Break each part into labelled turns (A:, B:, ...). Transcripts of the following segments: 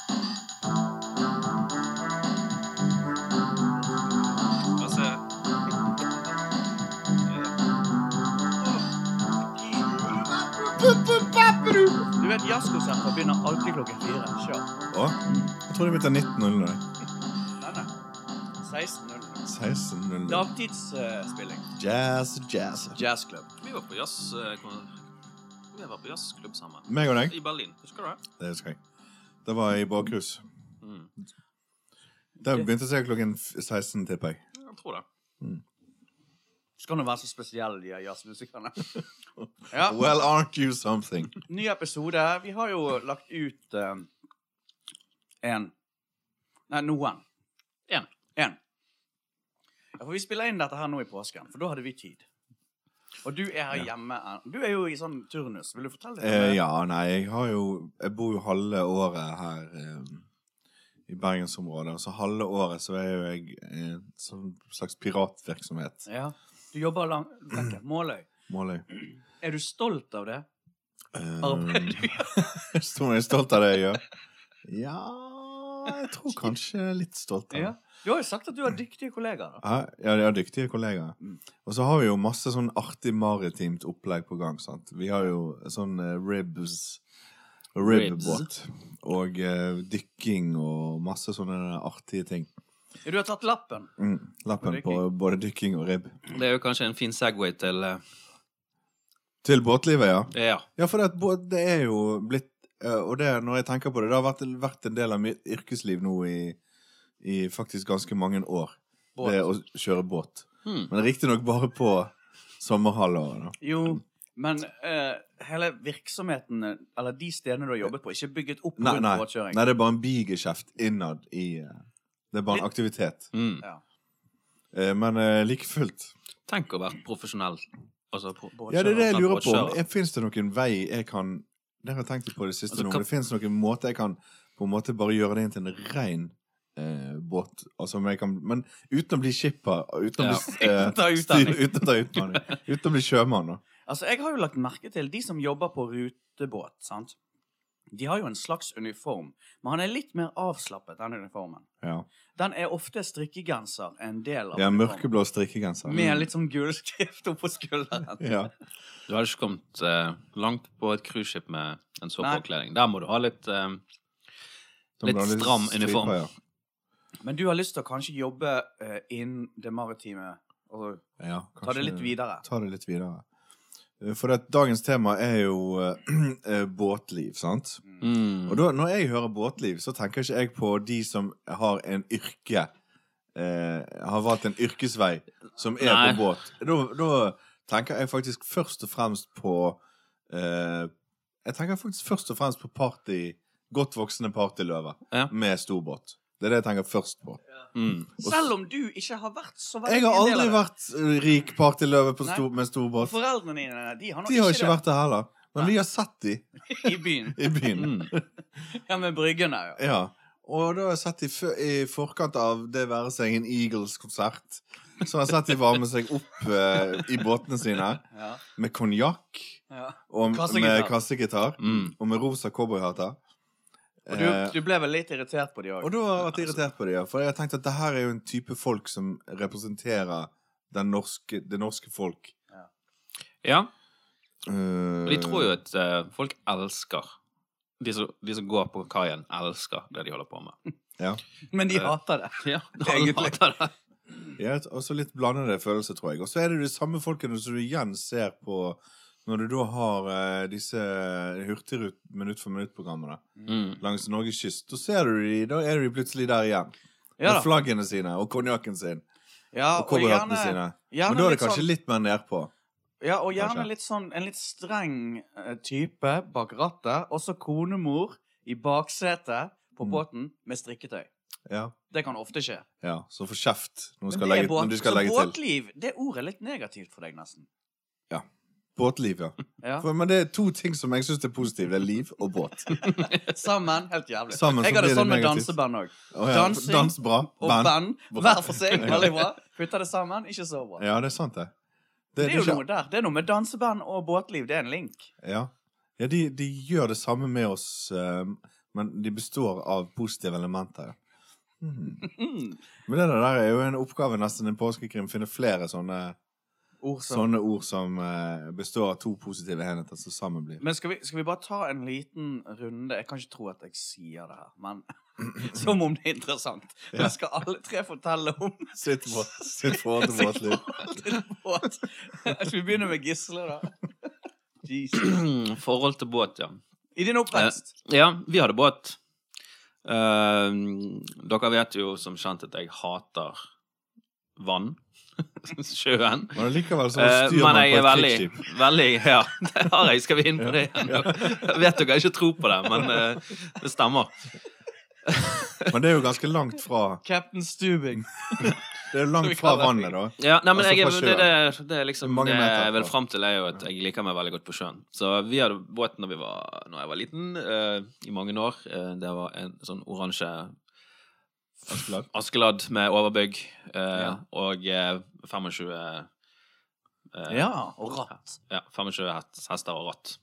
A: Altså, eh,
B: fordi at jazzkonserter begynner alltid klokken fire. Kjør.
C: Å? Jeg tror de begynte 19.00. jeg.
B: Nei, nei. 16.00.
C: 16.00.
B: Dagtidsspilling.
C: Jazz, Mm. jazz.
B: Jazzklubb.
A: Vi var på jazz... eh, kon- Vi var på jazzklubb sammen.
C: Meg og deg.
A: I Berlin, husker du det?
C: Det husker jeg. Det var i bakrus.
A: Mm.
C: Der begynte jeg klokken f- 16, tipper jeg.
A: Jeg tror det.
B: Skal nå være så spesiell, de her jazzmusikerne. Ja,
C: Well, aren't you something?
B: ny episode. Vi har jo lagt ut eh, en Nei, noen.
A: En.
B: En. Ja, for vi spiller inn dette her nå i påsken, for da hadde vi tid. Og du er her hjemme. eh, Du er jo i sånn turnus. Vil du fortelle litt? om
C: Eh,
B: det?
C: ja, nei, jeg har jo Jeg bor jo halve året her eh, i bergensområdet. Og så halve året så er jo jeg eh, sånn slags piratvirksomhet.
B: ja. Du jobber langt vekk. Måløy.
C: Måløy.
B: Er du stolt av det?
C: Eh,
B: Arbeidet du gjør?
C: Stor jeg er stolt av det jeg gjør? Ja Jeg tror kanskje litt stolt av det.
B: Ja. Du har jo sagt at du har dyktige kollegaer. da.
C: Ja, ja, de har dyktige kollegaer.
B: Mm.
C: Og så har vi jo masse sånn artig maritimt opplegg på gang. sant? Vi har jo sånn eh, ribs Ribbåt. Og eh, dykking og masse sånne artige ting.
B: Du har tatt lappen.
C: Mm. Lappen
B: Og
C: på
B: dykking.
C: både dykking og ribb.
A: Det er jo kanskje en fin Segway til eh,
C: Til båtlivet, ja.
A: Ja.
C: Ja, for det, at båt- det er jo blitt eh, Og det, når jeg tenker på det, det har vært, vært en del av mitt yrkesliv nå i, i faktisk ganske mange år.
B: Båt.
C: Det å kjøre båt.
A: Hmm.
C: Men riktignok bare på sommerhalvåret, da.
B: Jo, men eh, hele virksomheten, eller de stedene du har jobbet på, er ikke bygget opp
C: Nei,
B: rundt
C: nei.
B: båtkjøring.
C: Nei, det er bare en bigeskjeft innad i eh, Det er bare en aktivitet.
A: Mm.
B: Ja.
C: Eh, Men eh, like fullt.
A: Tenk å være profesjonell. Altså, pro
C: Ja, det er det jeg lurer på.
A: båtkjører.
C: Fins det noen vei jeg kan Det har jeg tenkt litt på i det siste
A: Altså,
C: nå.
A: kan-
C: men Det fins noen måte jeg kan på en måte bare gjøre det inn til en rein eh, båt. Altså, men, jeg kan, men uten å bli skipper, og uten å
A: Ja.
C: bli eh,
B: Uten å ta utdanning.
C: styr- uten å ta utdanning. Uten å bli sjømann. Da.
B: Altså, jeg har jo lagt merke til de som jobber på rutebåt, sant? De har jo en slags uniform, men han er litt mer avslappet, den uniformen.
C: Ja.
B: Den er ofte strikkegenser en del av
C: ja,
B: uniformen.
C: mørkeblå Mm. strikkegenser.
B: Med litt sånn gullskrift oppå skulderen.
C: Ja.
A: Du hadde ikke kommet eh, langt på et cruiseskip med en så
B: Nei.
A: påkledning. Der må du ha litt eh,
C: Da må
A: Litt
C: du ha
A: stram uniform.
C: striper,
B: Men du har lyst til å kanskje jobbe eh, innen det maritime, og
C: Ja. Ja,
B: ta det
C: kanskje-
B: litt videre.
C: ta det litt videre. Eh, For at dagens tema er jo eh, båtliv, sant?
A: mm.
C: Og da, når jeg hører båtliv, så tenker ikke jeg på de som har en yrke eh, Har valgt en yrkesvei som er
A: Nei.
C: på båt. Da, da tenker jeg faktisk først og fremst på eh, Jeg tenker faktisk først og fremst på party godt voksne partyløver
A: Ja.
C: med stor båt. Det er det jeg tenker først på.
A: mm.
B: Selv om du ikke har vært så veldig
C: Jeg har
B: en del av
C: aldri
B: det.
C: vært eh, rik partyløve på
B: Nei.
C: stor, med stor
B: Og
C: båt.
B: Foreldrene dine de har nok
C: De har
B: ikke
C: ikke vært der heller. Men
B: Nei.
C: vi har sett de
B: det i byen.
C: i byen.
A: Mm.
B: Ja, med bryggene. Ja.
C: Ja. Og da har jeg sett de fø- i forkant av det være seg en Eagles-konsert. Så har jeg sett de varme seg opp eh, i båtene sine
B: Ja,
C: med konjakk
B: ja.
C: og
B: Kassegitar.
C: med kassegitar.
A: Mm.
C: Og med rosa cowboyhatter.
B: Og du, du ble vel litt irritert på de
C: Eh.
B: òg?
C: Og da har jeg vært irritert på det, ja. For jeg har tenkt at det her er jo en type folk som representerer den norske, det norske folk.
A: Ja.
C: Eh,
A: Og de tror jo at eh, folk elsker de som, de som går på kaien, elsker det de holder på med.
C: ja.
B: Men de hater det.
A: Ja,
B: Egentlig.
C: Ja, og så litt blandede følelser, tror jeg. Og så er det de samme folkene som du igjen ser på når du da har eh, disse hurtigrut minutt for minutt-programmene
A: Mm.
C: langs Norges kyst. Da ser du de, da er de plutselig der igjen.
B: Ja,
C: med
B: da.
C: flaggene sine og konjakken sin
B: ja
C: og
B: og
C: cowboyhattene
B: gjerne,
C: sine.
B: gjerne
C: Men da er
B: litt
C: det kanskje
B: sånn,
C: litt mer nedpå.
B: Ja, og gjerne
C: Kanskje.
B: litt sånn en litt streng eh, type bak rattet. Også konemor i baksetet på
C: Mm.
B: båten med strikketøy.
C: Ja.
B: Det kan ofte skje.
C: ja. Så få kjeft når du
B: Men
C: skal
B: det er
C: legge,
B: båt-
C: når du skal
B: så
C: legge til.
B: båtliv, det ordet er litt negativt for deg, nesten.
C: Båtliv, ja.
B: Ja.
C: For, men det er to ting som jeg syns er positive. Det er liv og båt.
B: Sammen. Helt jævlig.
C: Sammen så
B: jeg har det
C: blir det
B: sånn med
C: negativt.
B: danseband òg.
C: Og ja,
B: Dansing
C: dans bra.
B: og
C: Band.
B: band hver for seg. Veldig bra. Putter det sammen, ikke så bra.
C: Ja, det er sant, det.
B: Det er jo
C: ikke-
B: noe der. Det er noe med danseband og båtliv. Det er en link.
C: Ja, ja de, de gjør det samme med oss, eh, men de består av positive elementer. Ja. Hmm. Men det der er jo en oppgave nesten en påskekrim. Finne flere sånne
B: Ord som
C: Sånne ord som eh, består av to positive enheter som sammen blir
B: Men skal vi, skal vi bare ta en liten runde? Jeg kan ikke tro at jeg sier det her, men som om det er interessant. Men skal alle tre fortelle om
C: Sitt på, sitt på til båtliv.
B: til båt? Skal vi begynne med Gisle, da? Jesus.
C: Mm.
A: Forhold til båt, ja.
B: I din oppvekst?
A: Ja, vi hadde båt. Eh, dere vet jo som kjent at jeg hater vann. Sjøen.
C: Men likevel så
A: Eh,
C: styrer man
A: men jeg
C: på
A: er
C: et
A: veldig,
C: krigsskip.
A: veldig Ja, det har jeg. Skal vi inn på det igjen? Jeg vet dere ikke tror på det, men eh, det stemmer.
C: Men det er jo ganske langt fra
B: Captain Stubing.
C: Det er jo
B: vi
C: langt fra
B: kaller det.
C: vannet, da.
A: Ja, nei, men
C: Altså,
A: jeg, er-
C: fra
A: det, det, det er liksom
C: Mange
A: Det jeg
C: meter
A: vil
C: fra.
A: fram til, er jo at jeg liker meg veldig godt på sjøen. Så vi hadde båt når, vi var, når jeg var liten, eh, i mange år. Eh, det var en sånn oransje
C: Askeladd.
A: Askeladd med overbygg eh,
B: Ja.
A: og eh, 25 eh,
B: Ja, og ratt.
A: ja, 25 hest- hester og ratt.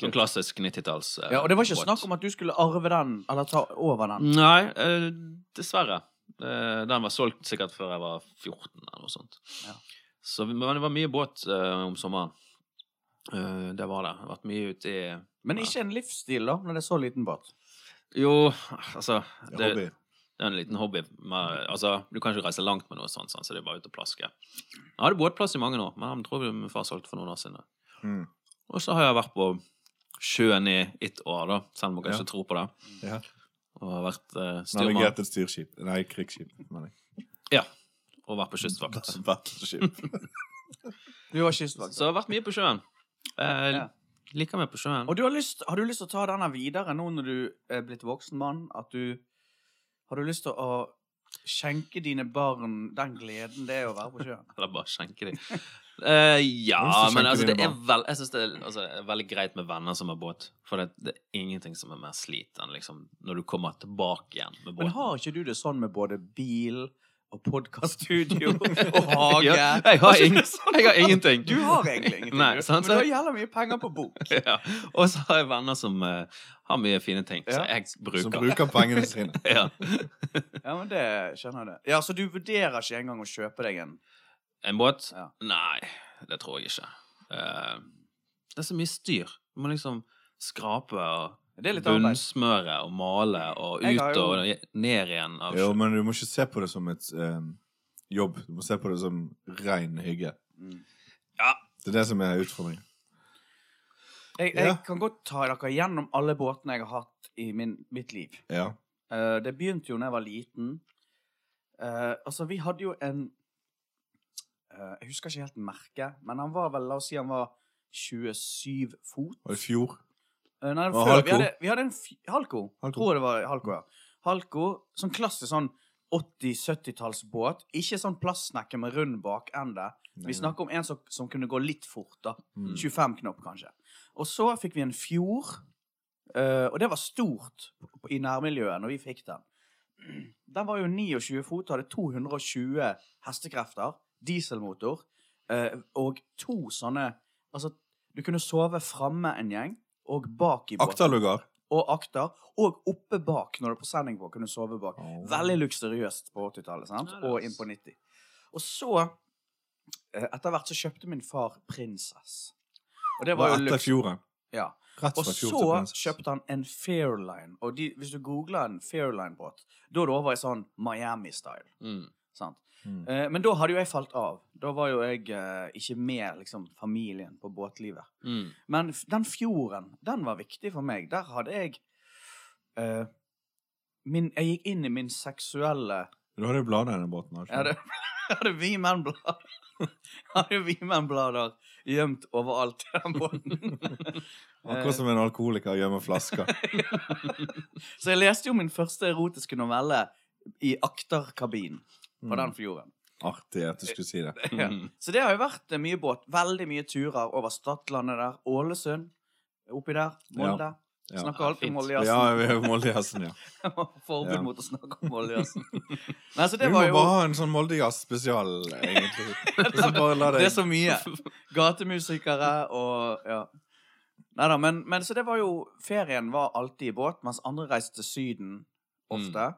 A: Sånn klassisk 90-talls eh,
B: Ja, og det var ikke
A: båt.
B: snakk om at du skulle arve den, eller ta over den.
A: Nei, eh, dessverre. Eh, den var solgt sikkert før jeg var 14 eller noe sånt.
B: Ja.
A: Så, men det var mye båt eh, om sommeren. Eh, det var det. Jeg har vært mye ute i
B: Men ikke en livsstil, da, når det er så liten båt.
A: Jo, altså
C: Det
A: det,
C: er hobby.
A: det er en liten hobby. Men, altså, du kan ikke reise langt med noe sånt, sånn, så det er bare ute og plaske. Jeg hadde båtplass i mange år, men den tror jeg min far solgte for noen år siden.
C: Mm.
A: Og så har jeg vært på sjøen i ett år, da, selv om dere
C: Ja.
A: ikke tror på det.
C: Ja.
A: Og har vært eh, styrmann
C: Navigert et styrskip. Nei, krigsskip, mener jeg.
A: og vært på kystvakt.
C: Battleship.
B: Du var kystvakt.
A: Så jeg har vært mye på sjøen. Eh,
B: Ja.
A: Liker meg på sjøen.
B: Og du har, lyst, har du lyst til å ta denne videre nå når du er blitt voksen mann? At du Har du lyst til å skjenke dine barn den gleden det er å være på sjøen?
A: Eller bare skjenke dem. Eh, ja,
C: Hvorfor skjenker
A: men altså,
C: de
A: det er,
C: dem
A: vel, jeg synes det er altså, det er veldig greit med venner som har båt. For det, det er ingenting som er mer slit enn liksom, når du kommer tilbake igjen med båten.
B: Men har ikke du det sånn med både bil og podkaststudio og hage? Altså,
A: ja, jeg, har ing, jeg har ingenting.
B: Du har egentlig ingenting,
A: Nei,
B: du.
A: sant,
B: men du
A: så-
B: har jævla mye penger på bok.
A: ja. Og så har jeg venner som eh, har mye fine ting, så
B: Ja.
A: jeg bruker.
C: Som bruker pengene sine.
A: Ja.
B: Ja, men det skjønner jeg det. Ja, Så du vurderer ikke engang å kjøpe deg en?
A: En båt?
B: Ja.
A: Nei, det tror jeg ikke. Eh, det er så mye styr. Du må liksom skrape og
B: Det er litt arbeid.
A: bunnsmøre og male og
B: Jeg
A: ut
B: har jo-
A: og ned igjen. Av
C: Jo, men du må ikke se på det som et eh, jobb. Du må se på det som ren hygge.
B: Mm.
C: Det er det som er utfordringen.
B: Jeg, jeg
C: Ja.
B: kan godt ta dere gjennom alle båtene jeg har hatt i min, mitt liv.
C: Ja.
B: Eh, det begynte jo da jeg var liten. Eh, altså, vi hadde jo en eh, Jeg husker ikke helt merket, men han var vel La oss si han var 27 fot.
C: Og i fjor
B: Eh, nei,
C: Og
B: før,
C: halko.
B: Vi, hadde, vi hadde en fi- halko.
C: Halko.
B: Tror jeg det var halko, ja. Halko. Sånn klassisk sånn 80-70-tallsbåt. Ikke sånn plastsnekke med rund bakende.
C: Nei,
B: Vi snakker om en som, som kunne gå litt fort, da.
C: Mm.
B: 25 knop, kanskje. Og så fikk vi en fjord. eh, og det var stort på- i nærmiljøet når vi fikk den. Den var jo 29 fot, hadde 220 hestekrefter, dieselmotor, eh, og to sånne Altså, du kunne sove framme en gjeng, og bak i båten.
C: Akterlugar.
B: Og akter. Og oppe bak, når du er på sending på, kunne sove bak.
C: Åh.
B: Veldig luksuriøst på 80-tallet, sant?
A: Ja, det er
B: Og
A: det.
B: inn på 90. Og så eh, Etter hvert så kjøpte min far Prinsess. Og det
C: Det
B: var
C: var
B: jo
C: etter
B: luks.
C: fjorden.
B: Ja.
C: Rett
B: Og
C: fra fjord
B: så
C: til prinsesse.
B: kjøpte han en Fairline. Og de, hvis du googler en Fairline-båt, da er det over i sånn Miami-style.
A: Mm.
B: sant?
C: Mm.
B: Eh, men da hadde jo jeg falt av. Da var jo jeg eh, ikke med liksom, familien på båtlivet.
A: Mm.
B: Men f- den fjorden, den var viktig for meg. Der hadde jeg eh, min, Jeg gikk inn i min seksuelle
C: Du hadde jo bladet i den båten. har du ikke?
B: Jeg hadde, jeg hadde vi menn-blader. Jeg hadde vi menn-blader gjemt overalt i den båten.
C: Akkurat som en alkoholiker gjemmer flasker.
B: Så jeg leste jo min første erotiske novelle i akterkabinen på
C: Mm.
B: den fjorden.
C: Artig at du skulle si det.
B: Ja.
A: mm,
B: Så det har jo vært eh, mye båt. Veldig mye turer over Stadlandet der. Ålesund oppi der. Molde.
C: Ja.
B: Snakker alltid om
A: Fint.
B: Molde
C: Ja, vi er Moldejazzen, ja.
B: Jeg må ha Forbud
C: Ja.
B: mot å snakke om oljejazzen. Nei, så
C: Vi
B: det
C: må
B: var jo
C: bare ha en sånn Moldejazz-spesial, egentlig. Og så bare la
B: Det
C: det
B: er så mye. Gatemusikere og ja. Nei da, men, men så det var jo Ferien var alltid
C: Mm.
B: i båt, mens andre reiste til Syden ofte.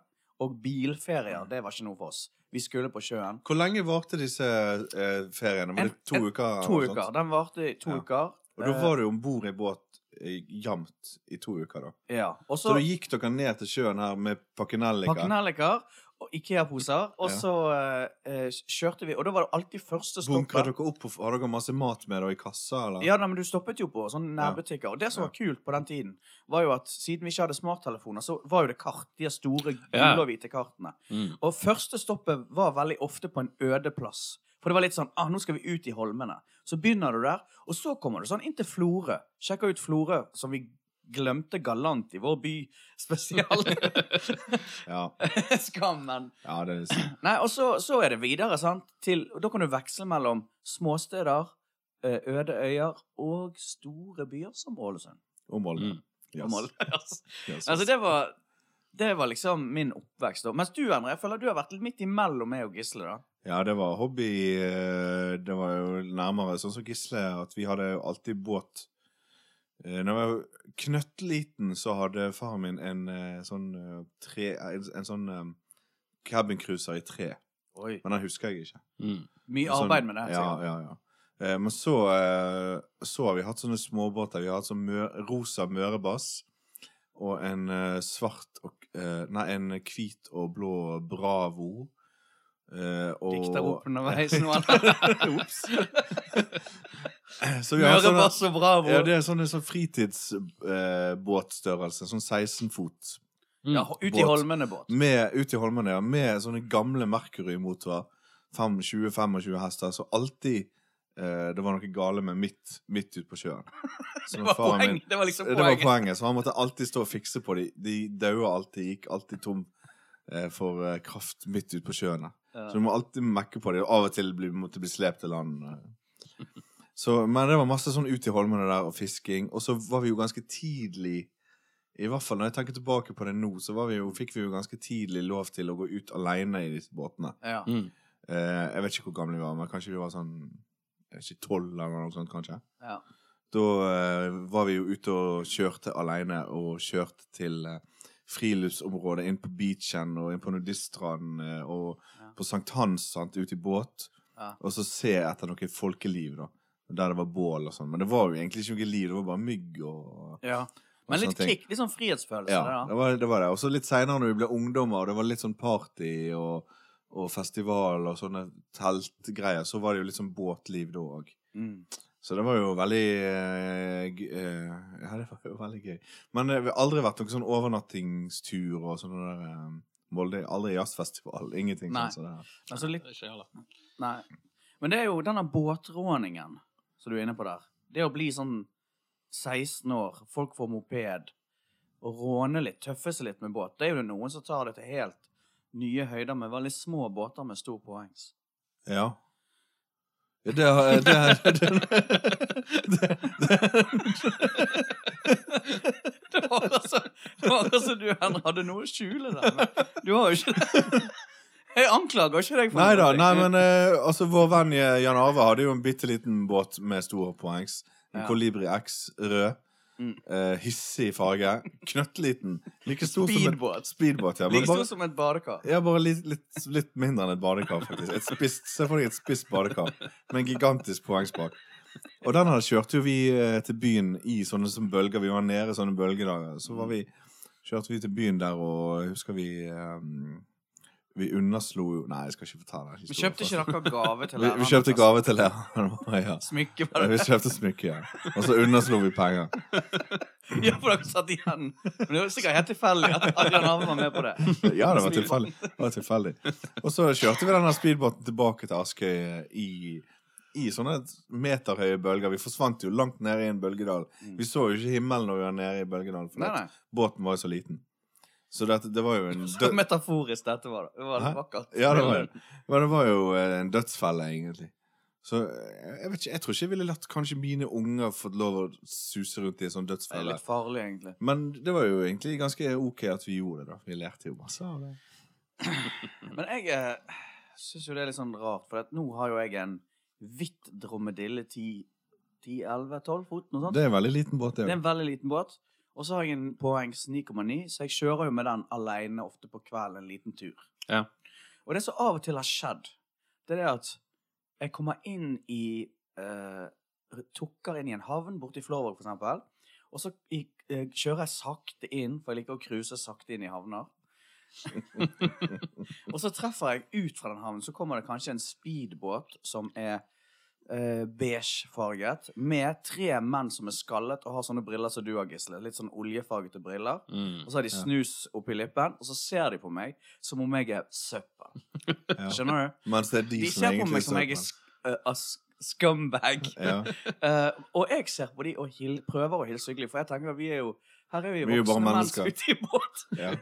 B: Og bilferier, det var ikke noe for oss. Vi Vi skulle på sjøen.
C: Hvor lenge varte disse eh, feriene? Var
B: En-
C: det to
B: en-
C: uker?
B: To
C: eller noe
B: uker.
C: sånt?
B: Den varte i to
C: Ja.
B: uker.
C: Og da var du om bord i båt eh, jevnt i to uker, da.
B: Eh, Ja. Og
C: Så
B: så
C: da gikk dere ned til sjøen her med pakkenellika?
B: pakkenelliker og Ikea-poser. Og
C: Ja.
B: så eh, eh, kjørte vi, og da var det alltid første
C: Bunkra
B: stoppet.
C: dere opp og f- Har dere masse mat med dere i kassa, eller?
B: Ja, nei, men Du stoppet jo på sånne
C: Ja.
B: nærbutikker. Og det som
C: Ja.
B: var kult på den tiden, var jo at siden vi ikke hadde smarttelefoner, så var jo det kart. De store
A: Ja.
B: gule og hvite kartene.
A: Mm.
B: Og første stoppet var veldig ofte på en øde plass. For det var litt sånn ah, nå skal vi ut i holmene. Så begynner du der, og så kommer du sånn inn til Florø. Sjekker ut Florø, som vi glemte galant i vår by spesial.
C: Ja,
B: Skammen.
C: ja det er sant.
B: Nei, og så, så er det videre, sant. Til, og da kan du veksle mellom småsteder, eh, øde øyer og store byer som Ålesund.
C: Omhold.
A: Mm.
C: Yes.
B: Og Molde. Altså,
C: Yes.
B: Altså, det var det var liksom min oppvekst. da. Mens du, Endre, jeg føler du har vært litt midt imellom meg og Gisle. da.
C: Ja, det var hobby eh, Det var jo nærmere sånn som Gisle, at vi hadde jo alltid båt. Eh, Når jeg var knøttliten, så hadde faren min en eh, sånn eh, tre eh, En, en sånn eh, cabincruiser i tre.
B: Oi.
C: Men den husker jeg ikke.
A: Mm.
B: Mye
C: Sånn-
B: arbeid med det.
C: Ja,
B: sikkert.
C: ja, ja. Eh, Men så, eh, så har vi hatt sånne småbåter. Vi har hatt sånn mø rosa mørebass og en eh, svart og eh, Nei, en hvit og blå Bravo. eh, og-
B: Dikter opp underveis nå. Ops.
C: Så vi har sånne,
B: Mørebass og Bravo.
C: sånn ja,
B: Ja,
C: det er sånn, sånn fritidsbåtstørrelse, eh, sånn 16 fot.
A: Mm.
B: ut
C: båt.
B: i holmene båt.
C: Med, ut i holmene, ja, med sånne gamle Mercury-motorer. 20-25 hester. Så alltid eh, det var noe gale med midt, midt ute på sjøen. Så
B: Det
C: når
B: var
C: faren min-
B: poeng. Det var liksom
C: Det var
B: poenget.
C: poenget. Så han måtte alltid stå og fikse på dem. De daua alltid, gikk alltid tom eh, for eh, kraft midt ute på sjøen. da.
B: Ja.
C: Så du må alltid mekke på det. og Av og til bli, måtte bli slept til land. Så, men det var masse sånn ut i holmene der og fisking. Og så var vi jo ganske tidlig I hvert fall når jeg tenker tilbake på det nå, så var vi jo, fikk vi jo ganske tidlig lov til å gå ut alene i disse båtene.
B: Ja.
A: Mm.
C: Eh, jeg vet ikke hvor gamle vi var, men kanskje vi var sånn Jeg vet ikke, tolv eller noe sånt, kanskje.
B: Ja.
C: Da eh, var vi jo ute og kjørte alene, og kjørte til eh, friluftsområdet, inn på beachen og inn på nudiststranden eh, og
B: Ja.
C: på sankthans, sant, ut i båt.
B: Ja.
C: Og så se etter noe folkeliv, da. Der det var bål og sånn. Men det var jo egentlig ikke noe liv, det var bare mygg og
B: Ja. Men litt
C: sånne ting.
B: kick. Litt sånn frihetsfølelse.
C: Ja,
B: det
C: det
B: da.
C: var det. Var det. Og så litt seinere, når vi ble ungdommer, og det var litt sånn party og, og festival og sånne teltgreier, så var det jo litt sånn båtliv da òg.
B: Mm.
C: Så det var jo veldig eh, g- eh, Ja, det var jo veldig gøy. Men eh, vi har aldri vært noen sånn overnattingstur og sånne der eh, Molde. Aldri jazzfestival. Ingenting
B: Nei.
C: sånn som det her.
B: Altså litt
A: Ikke heller.
B: Nei. Men det er jo denne båtråningen som du er inne på der. Det å bli sånn 16 år, folk får moped, og råne litt, tøffe seg litt med båt. Det er jo noen som tar det til helt nye høyder med veldig små båter med stor påhengs.
C: Ja. Ja, Det har det, det, det,
B: Det var altså, det var altså du Henrik, hadde noe å skjule der. Men du har jo ikke det. Jeg anklager ikke deg for
C: Nei da.
B: noe.
C: Nei, men eh, altså, vår venn eh, Jan Arve hadde jo en bitte liten båt med store poengs. En
B: Ja.
C: Kolibri X rød.
B: Mm.
C: eh, hissig farge. Knøttliten. Like stor som
B: Speedbåt.
C: en speedbåt. Ja, men
B: Like
C: bare-
B: stor som et badekar.
C: Ja, bare litt, litt, litt mindre enn et badekar, faktisk. Et spist, se for deg et spisst badekar med en gigantisk poengspak. Og den her kjørte jo vi eh, til byen i sånne som bølger. Vi var nede i sånne bølgedager. Så var vi, kjørte vi til byen der, og jeg husker vi eh, Vi underslo jo Nei, jeg skal ikke fortelle den.
B: Vi kjøpte ikke
C: historien først.
B: dere gave til
C: altså. Vi,
B: læreren.
C: vi kjøpte gave til læreren. Ja.
B: Smykke var det.
C: Vi kjøpte smykke, ja. Og så underslo vi penger.
B: Ja, for dere satt igjen. Men det var sikkert helt tilfeldig at Adrian Arve var med på det.
C: Ja, det var tilfeldig. Det var tilfeldig. Og så kjørte vi denne speedbåten tilbake til Askøy eh, i, i sånne meterhøye bølger. Vi forsvant jo langt ned i en bølgedal.
B: Mm.
C: Vi så jo ikke himmelen når vi var nede i bølgedalen, for
B: Nei,
C: at
B: nei.
C: båten var jo så liten. Så dette, det var jo en
B: Så
C: død...
B: metaforisk dette var. Det Det var
C: Hæ?
B: vakkert.
C: Ja, det var, men det var jo eh, en dødsfelle, egentlig. Så eh, jeg vet ikke, jeg tror ikke jeg ville latt kanskje mine unger fått lov å suse rundt i en sånn
B: Det er
C: dødsfelle.
B: litt farlig, egentlig.
C: Men det var jo egentlig ganske ok at vi gjorde det, da. Vi lærte jo masse av det. Mm.
B: Men jeg eh, syns jo det er litt sånn rart, for at nå har jo jeg en hvitt dromedille 10-11-12 fot, noe sånt.
C: Det er en veldig liten båt,
B: Det
C: det.
B: er
C: jo.
B: en veldig liten båt. Og så har jeg en poengs 9,9, så jeg kjører jo med den aleine ofte på kvelden en liten tur.
A: Ja.
B: Og det som av og til har skjedd, det er det at jeg kommer inn i eh, Tukker inn i en havn borte i Flåvåg, for eksempel. Og så i, eh, kjører jeg sakte inn, for jeg liker å cruise sakte inn i havner. og så treffer jeg ut fra den havnen, så kommer det kanskje en speedbåt som er eh, beigefarget, med tre menn som er skallet og har sånne briller som du har, Gisle. Litt sånn oljefargete briller.
A: Mm.
B: Og så har de
C: Ja.
B: snus oppi lippen, og så ser de på meg som om jeg er søppel.
C: Ja.
B: Skjønner du?
C: Mens det er de,
B: De
C: som
B: ser på
C: egentlig
B: meg som jeg er sk eh, a s- scumbag.
C: Ja.
B: Eh, og jeg ser på de og hil prøver å hilse hyggelig, for jeg tenker at vi er jo her er vi
C: Vi er jo bare
B: voksne menn
C: mennesker.
B: ute i båt.
C: Ja.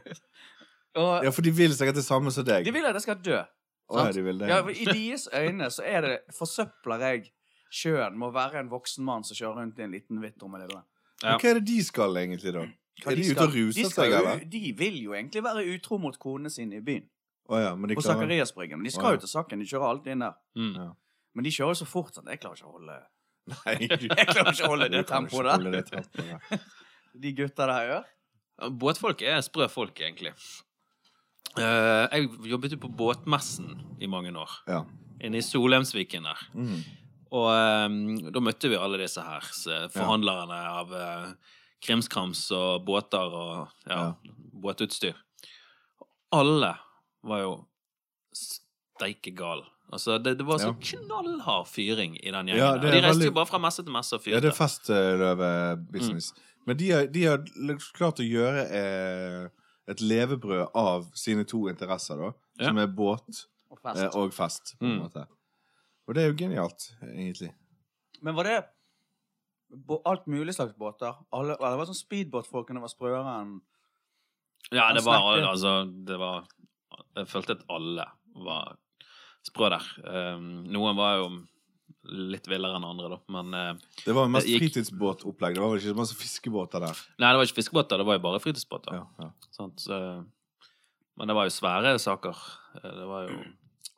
B: Og
C: ja, for de vil sikkert det samme som deg.
B: de vil at jeg skal dø.
C: Å, ja,
B: sant?
C: de vil det.
B: Ja, for I deres øyne så er det forsøpler jeg sjøen med å være en voksen mann som kjører rundt i en liten hvitt trommelille.
A: Ja.
C: Men Hva er det de skal egentlig, da?
B: Hva
C: er de, ute
B: skal-
C: og
B: de
C: ruser
B: skal
C: seg,
B: jo-
C: eller?
B: De vil jo egentlig være utro mot konene sine i byen.
C: Å ja, men de
B: På
C: klarer
B: Sakariasbryggen. De
C: Å,
B: skal
C: ja.
B: jo til Saken. De kjører alltid inn der.
A: Mm.
B: Men de kjører så fort at jeg klarer ikke å holde
C: Nei, du
B: Jeg klarer ikke å holde
C: du
B: det
C: kan ikke
B: tempoet der.
C: holde det tempoet der.
B: De gutta der gjør.
A: Båtfolk er sprø folk, egentlig. Eh, jeg jobbet jo på båtmessen i mange år.
C: Ja.
A: Inne i Solheimsviken der.
C: Mm.
A: Og eh, da møtte vi alle disse her. så Forhandlerne av eh, krimskrams og båter og ja,
C: Ja.
A: båtutstyr. Alle var jo steike gal. Altså, det, det var så
C: Ja.
A: knallhard fyring i den gjengen.
C: Ja,
A: der.
C: det
A: og de
C: er
A: reiste
C: veldig-
A: jo bare fra messe til messe og
C: ja,
A: fyrte.
C: det er festløve-business.
A: Mm.
C: Men de har, de har liksom klart å gjøre eh, et levebrød av sine to interesser, da.
A: Ja.
C: Som er båt
B: Og fest.
C: eh, og fest, på en
A: Mm.
C: måte. Og det er jo genialt, egentlig.
B: Men var det bå- alt mulig slags båter? Alle, eller det var sånn speedbåtfolkene var sprøere enn
A: Ja, det
B: Han
A: var
B: snakker-
A: altså det var, Jeg følte at alle var sprø der. Um, noen var jo litt villere enn andre, da. Men eh,
C: Det var mest
A: Det gikk-
C: fritidsbåtopplegg. Det var vel ikke så masse fiskebåter der.
A: Nei, det var ikke fiskebåter, det var jo bare fritidsbåter.
C: Ja, ja.
A: Sant? Så, men det var jo svære saker. Eh, Det var jo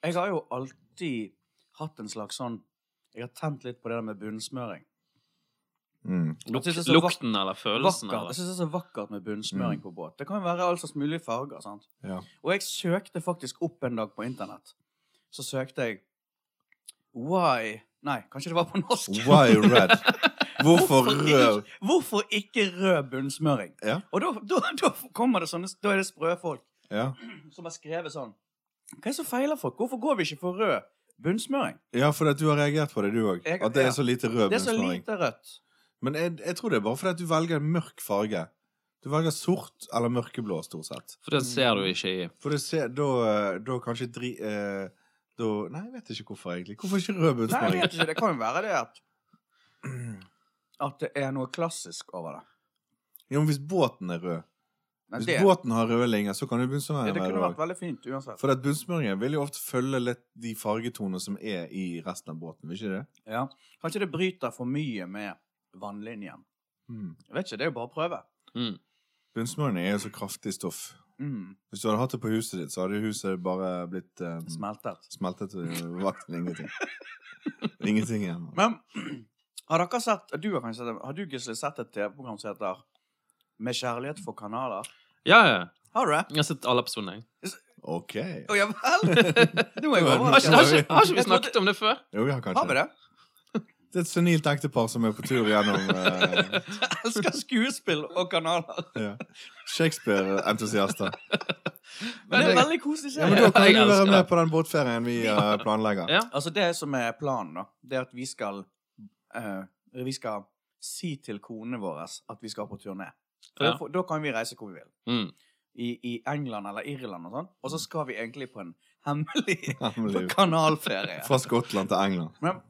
B: Jeg har jo alltid hatt en slags sånn Jeg har tent litt på det der med bunnsmøring.
C: Mm.
B: Jeg synes det er så vak-
A: lukten eller følelsen
B: Vakkert. Jeg
A: eller
B: syns det er så vakkert med
C: Mm.
B: bunnsmøring på båt. Det kan jo være all slags mulige farger. sant?
C: Ja.
B: Og jeg søkte faktisk opp en dag på internett. Så søkte jeg Why Nei, kanskje det var på norsk.
C: Why red? Hvorfor
B: ikke,
C: rød?
B: hvorfor ikke rød bunnsmøring?
C: Ja.
B: Og da, da, da kommer det sånne Da er det sprø folk
C: Ja.
B: som har skrevet sånn Hva er det som feiler folk? Hvorfor går vi ikke for rød bunnsmøring?
C: ja, for at du har reagert på det, du òg.
B: Jeg-
C: At det
B: ja.
C: er så lite rød
B: Det er så
C: bunnsmøring.
B: lite rødt.
C: Men jeg, jeg tror det er bare fordi at du velger en mørk farge. Du velger sort eller mørkeblå, stort sett.
A: For det ser du ikke i
C: For du ser, da, eh, da kanskje dri... Eh, da, nei, jeg vet ikke hvorfor, egentlig. Hvorfor ikke rød
B: Nei, jeg
C: bunnsmøring?
B: vet ikke. Det kan jo være det at At det er noe klassisk over det.
C: Jo, men hvis båten er rød
B: Men
C: Hvis
B: det,
C: båten har røde linjer, så kan jo
B: det,
C: bunnsmøringen
B: det
C: være
B: kunne vært
C: rød.
B: veldig fint uansett.
C: For at bunnsmøringen vil jo ofte følge litt de fargetonene som er i resten av båten, vil ikke det?
B: Ja. Kanskje det bryter for mye med vannlinjen.
C: Mm.
B: Jeg vet ikke. Det er jo bare å prøve.
A: mm.
C: Bunnsmøring er jo så kraftig stoff.
B: Mm.
C: Hvis du hadde hatt det på huset ditt, så hadde huset bare blitt eh,
B: Smeltet.
C: smeltet og vakt ingenting. ingenting igjen.
B: Men har dere sett Du har kanskje sett det, Har du, Gisle, sett et TV-program som heter Med kjærlighet for kanaler?
A: Ja, ja.
B: Har du det?
A: Jeg har sett alle episodene, jeg.
C: OK.
B: Å ja vel? Nå er jeg
A: Har ikke, har,
B: overrasket.
A: ikke, har ikke vi
B: Jeg trodde-
A: snakket om det før?
C: Jo, vi har kanskje
B: Har vi det?
C: Det er et senilt ektepar som er på tur gjennom eh,
B: Jeg elsker skuespill og kanaler.
C: ja. Shakespeare-entusiaster.
B: Men det er en veldig koselig
C: Ja, men da
B: serie.
C: kan
A: Jeg
C: du være
A: elsker
C: med
A: det.
C: på den båtferien vi eh, planlegger.
A: Ja.
B: Altså, det som er planen, da, det er at vi skal eh, Vi skal si til konene våre at vi skal på turné. For
A: Ja.
B: da får- Da kan vi reise hvor vi vil.
A: Mm.
B: I, I England eller Irland og sånn. Og så skal vi egentlig på en hemmelig
C: Hemmelig.
B: kanalferie.
C: Fra Skottland til England.
B: Men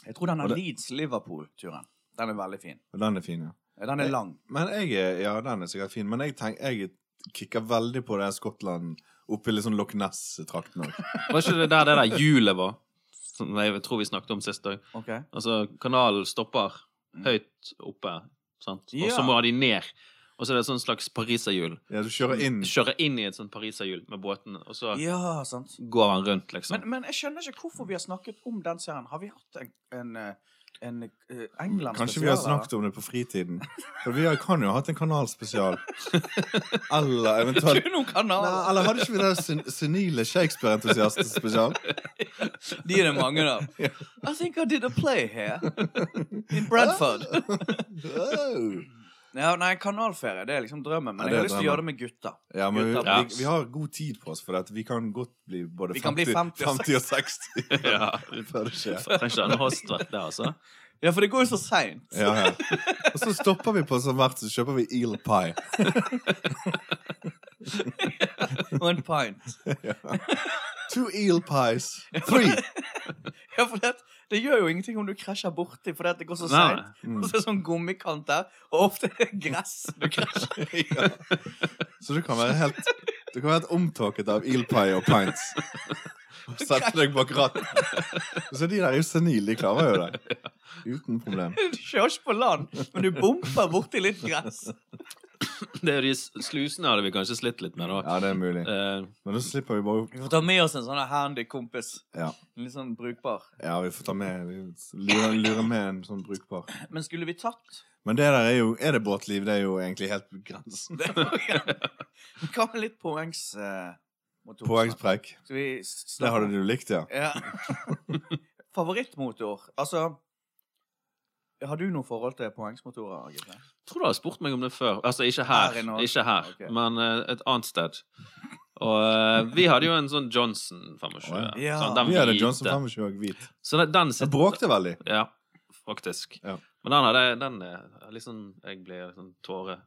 B: jeg tror den
C: Og
B: er
C: det-
B: Leeds-Liverpool-turen. Den er veldig fin.
C: Og den er fin, ja.
B: Den er lang.
C: Men jeg er, Ja, den er sikkert fin. Men jeg, tenk, jeg kikker veldig på det her Skottland oppi litt sånn Loch Ness-trakten òg.
A: Var ikke det der det der hjulet var? Som jeg tror vi snakket om sist dag.
B: Ok.
A: Altså, kanalen stopper høyt oppe, sant? Og
B: Ja.
A: så må de ned. Og så er det et sånt slags pariserhjul.
C: Ja, du kjører inn.
A: Du kjører inn i et sånt pariserhjul med båten, og så
B: Ja, sant.
A: går han rundt, liksom.
B: Men, men jeg skjønner ikke hvorfor vi har snakket om den serien. Har vi hatt en, en eh, en eh, England
C: Kanskje vi har snakket om det på fritiden. For vi har, kan jo ha hatt en kanalspesial. Eller eventuelt
B: noen
C: Nei,
B: kanaler.
C: Eller hadde ikke vi det sen senile Shakespeare-entusiast-spesial?
B: De er det mange av. I think I did a play here. In Bradford.
C: Oh.
B: Ja, nei, kanalferie det er liksom drømmen. Men
C: Ja, det
B: jeg har
C: er
B: lyst til å
C: drømmen.
B: gjøre det med gutta.
C: Ja, men vi,
B: Gutta.
C: vi, vi har god tid på oss, for at vi kan godt bli både
B: Vi kan bli
C: 50,
B: 50 og
C: 50 og 60
A: Ja.
C: før det skjer.
A: Trenger ikke denne hastverk der, altså.
B: Ja, for det går jo så seint.
C: Ja, ja. Og så stopper vi på som hvert, så kjøper vi eel pie.
B: Og en pint.
C: Two eel pies. Three!
B: Ja, for det, det gjør jo ingenting om du krasjer borti, for det, at det går så
A: Nei.
B: seint.
C: Mm.
B: Og så er det sånn gummikant der, og ofte er det gress du krasjer i.
C: Ja. Så du kan være helt Du kan være helt omtåket av eel pie og pints. Og sette deg bak rattet. Så de der er jo senile, de klarer jo det. Uten problem.
B: Du kjører ikke på land, men du bumper borti litt gress.
A: Det er jo de s- slusene hadde vi kanskje slitt litt med, da.
C: Ja, det er mulig.
A: Eh,
C: Men da slipper vi bare opp.
B: Vi får ta med oss en sånn her handy kompis.
C: Ja,
B: En Litt sånn brukbar.
C: ja vi får ta med vi lurer, lurer med en sånn brukbar.
B: Men skulle vi tatt
C: Men det der er jo Er det båtliv? Det er jo egentlig helt grensen.
B: det? Hva med litt poengs... Eh, motor?
C: Poengspreik.
B: Skal vi snakke
C: Det hadde du likt, ja.
B: Ja. Favorittmotor? Altså Har du noe forhold til poengsmotorer? Gitte?
A: tror du har spurt meg om det før. Altså, ikke
B: Her
A: her,
B: i Norge.
A: ikke her
B: Ok.
A: men eh, et annet sted. Og eh, vi hadde jo en sånn Johnson 25.
C: Å,
B: ja.
A: sånn,
C: Vi hadde
A: hvite.
C: Johnson 25 og hvit.
A: Så den, den
C: Det
A: sitter
C: bråkte veldig.
A: Ja, faktisk.
C: Ja.
A: Men den hadde den er liksom Jeg blir liksom tåre,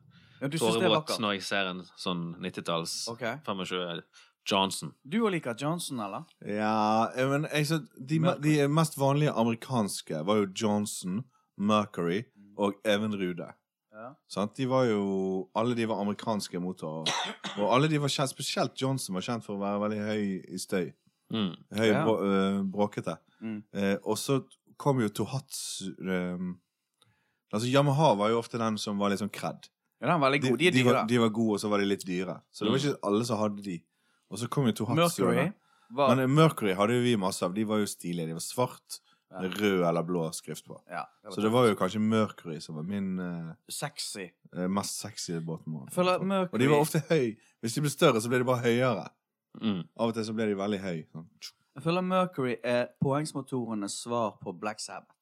B: Ja, du syns det er
A: tårevåt
B: vakkert?
A: når jeg ser en sånn 90-talls
B: Ok.
A: 25 Johnson.
B: Du og liker Johnson, eller?
C: Ja, eh, men jeg, så, de, me- de mest vanlige amerikanske var jo Johnson, Mercury og Evenrude.
B: Ja.
C: Sant? De var jo Alle de var amerikanske motorer. Og alle de var kjent, spesielt Johnson var kjent for å være veldig høy i støy.
A: Mm.
C: Høy
B: Ja.
C: brå, eh, bråkete.
B: Mm.
C: Eh, og så kom jo Tohatsu eh, Altså Yamaha var jo ofte den som var litt sånn cred.
B: ja den er veldig god. De er dyre. Mm.
C: var, de var gode, og så var de litt dyre. Så det var ikke alle som hadde de. Og så kom jo Tohatsu.
B: Mercury var
C: Men eh, Mercury hadde jo vi masse av. De var jo stilige. De var svart
B: Ja.
C: med rød eller blå skrift på.
B: ja,
C: Så det var jo kanskje Mercury som var min eh,
B: sexy.
C: eh, mest sexy båtmål.
B: Jeg føler at
C: Og de
B: Mercury,
C: var ofte høy. Hvis de ble større, så ble de bare høyere.
A: Mm.
C: Av og til så ble de veldig høy. Sånn.
B: jeg føler Mercury er poengsmotorenes svar på Black Sabbath,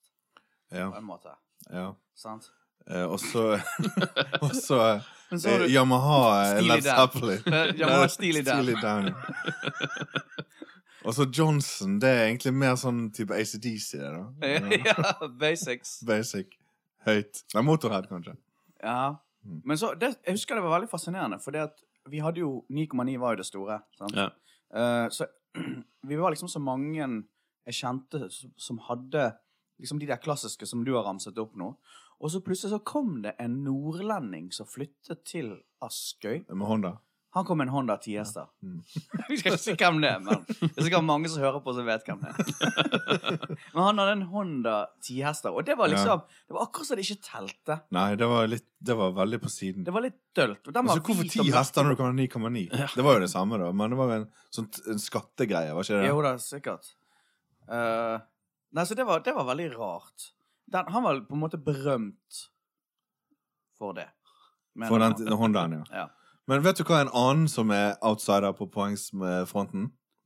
C: Ja,
B: på en måte.
C: ja.
B: Sant?
C: Eh, og så Og så eh,
B: Men så har du
C: Yamaha eh,
B: Steely
C: Led
B: Dan.
C: Zeppelin.
B: Eh, Yamaha Steely Dan.
C: Steely Dan. og så Johnson. Det er egentlig mer sånn type ACDC, det, da. Ja.
B: Ja, basics.
C: Basic. Høyt. Nei, Motorhead, kanskje.
B: Ja.
C: Mm.
B: Men så, det, jeg husker det var veldig fascinerende, for det at vi hadde jo 9,9 var jo det store. Sant?
A: Ja.
B: Eh, så vi var liksom så mange jeg kjente som, som hadde liksom de der klassiske som du har ramset opp nå. Og så plutselig så kom det en nordlending som flyttet til Askøy.
C: Med Honda.
B: Han kom med en Honda Tiesta.
C: Mm.
B: Vi skal ikke si hvem det er, men det er sikkert mange som hører på som vet hvem det er. Men han hadde en Honda Tiesta, og det var liksom Det var akkurat som det ikke telte.
C: Nei, det var, litt, det var veldig på siden.
B: Det var litt dølt. og den var
C: altså, hvorfor
B: hvit
C: ti
B: og mørk.
C: hester når du kan ha 9,9? Det var jo det samme, da. Men det var jo en, sånn t- en skattegreie, var ikke det?
B: Jo da, sikkert. Eh, nei, så det var, det var veldig rart. Den, han var på en måte berømt for det. Men-
C: For den, den Hondaen, ja.
B: Ja.
C: Men vet du hva en annen som er outsider på poengsfronten?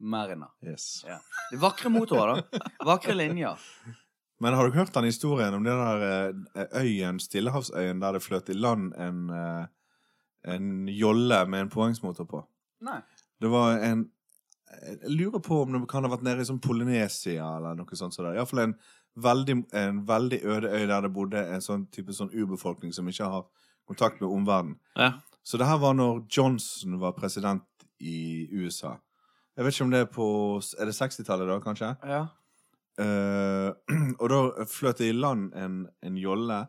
B: Mariner.
C: Yes.
B: Ja. Det er vakre motorer, da. Vakre linjer.
C: Men har du hørt den historien om den der eh, øyen, Stillehavsøyen, der det fløt i land en, eh, en jolle med en poengsmotor på?
B: Nei.
C: Det var en Jeg lurer på om det kan ha vært nede i sånn Polynesia eller noe sånt. Så Iallfall en veldig, en veldig øde øy der det bodde en sånn type sånn urbefolkning som ikke har kontakt med omverdenen.
A: Ja.
C: Så det her var når Johnson var president i USA. Jeg vet ikke om det er på Er det 60-tallet, da, kanskje?
B: Ja.
C: Eh, og da fløt det i land en, en jolle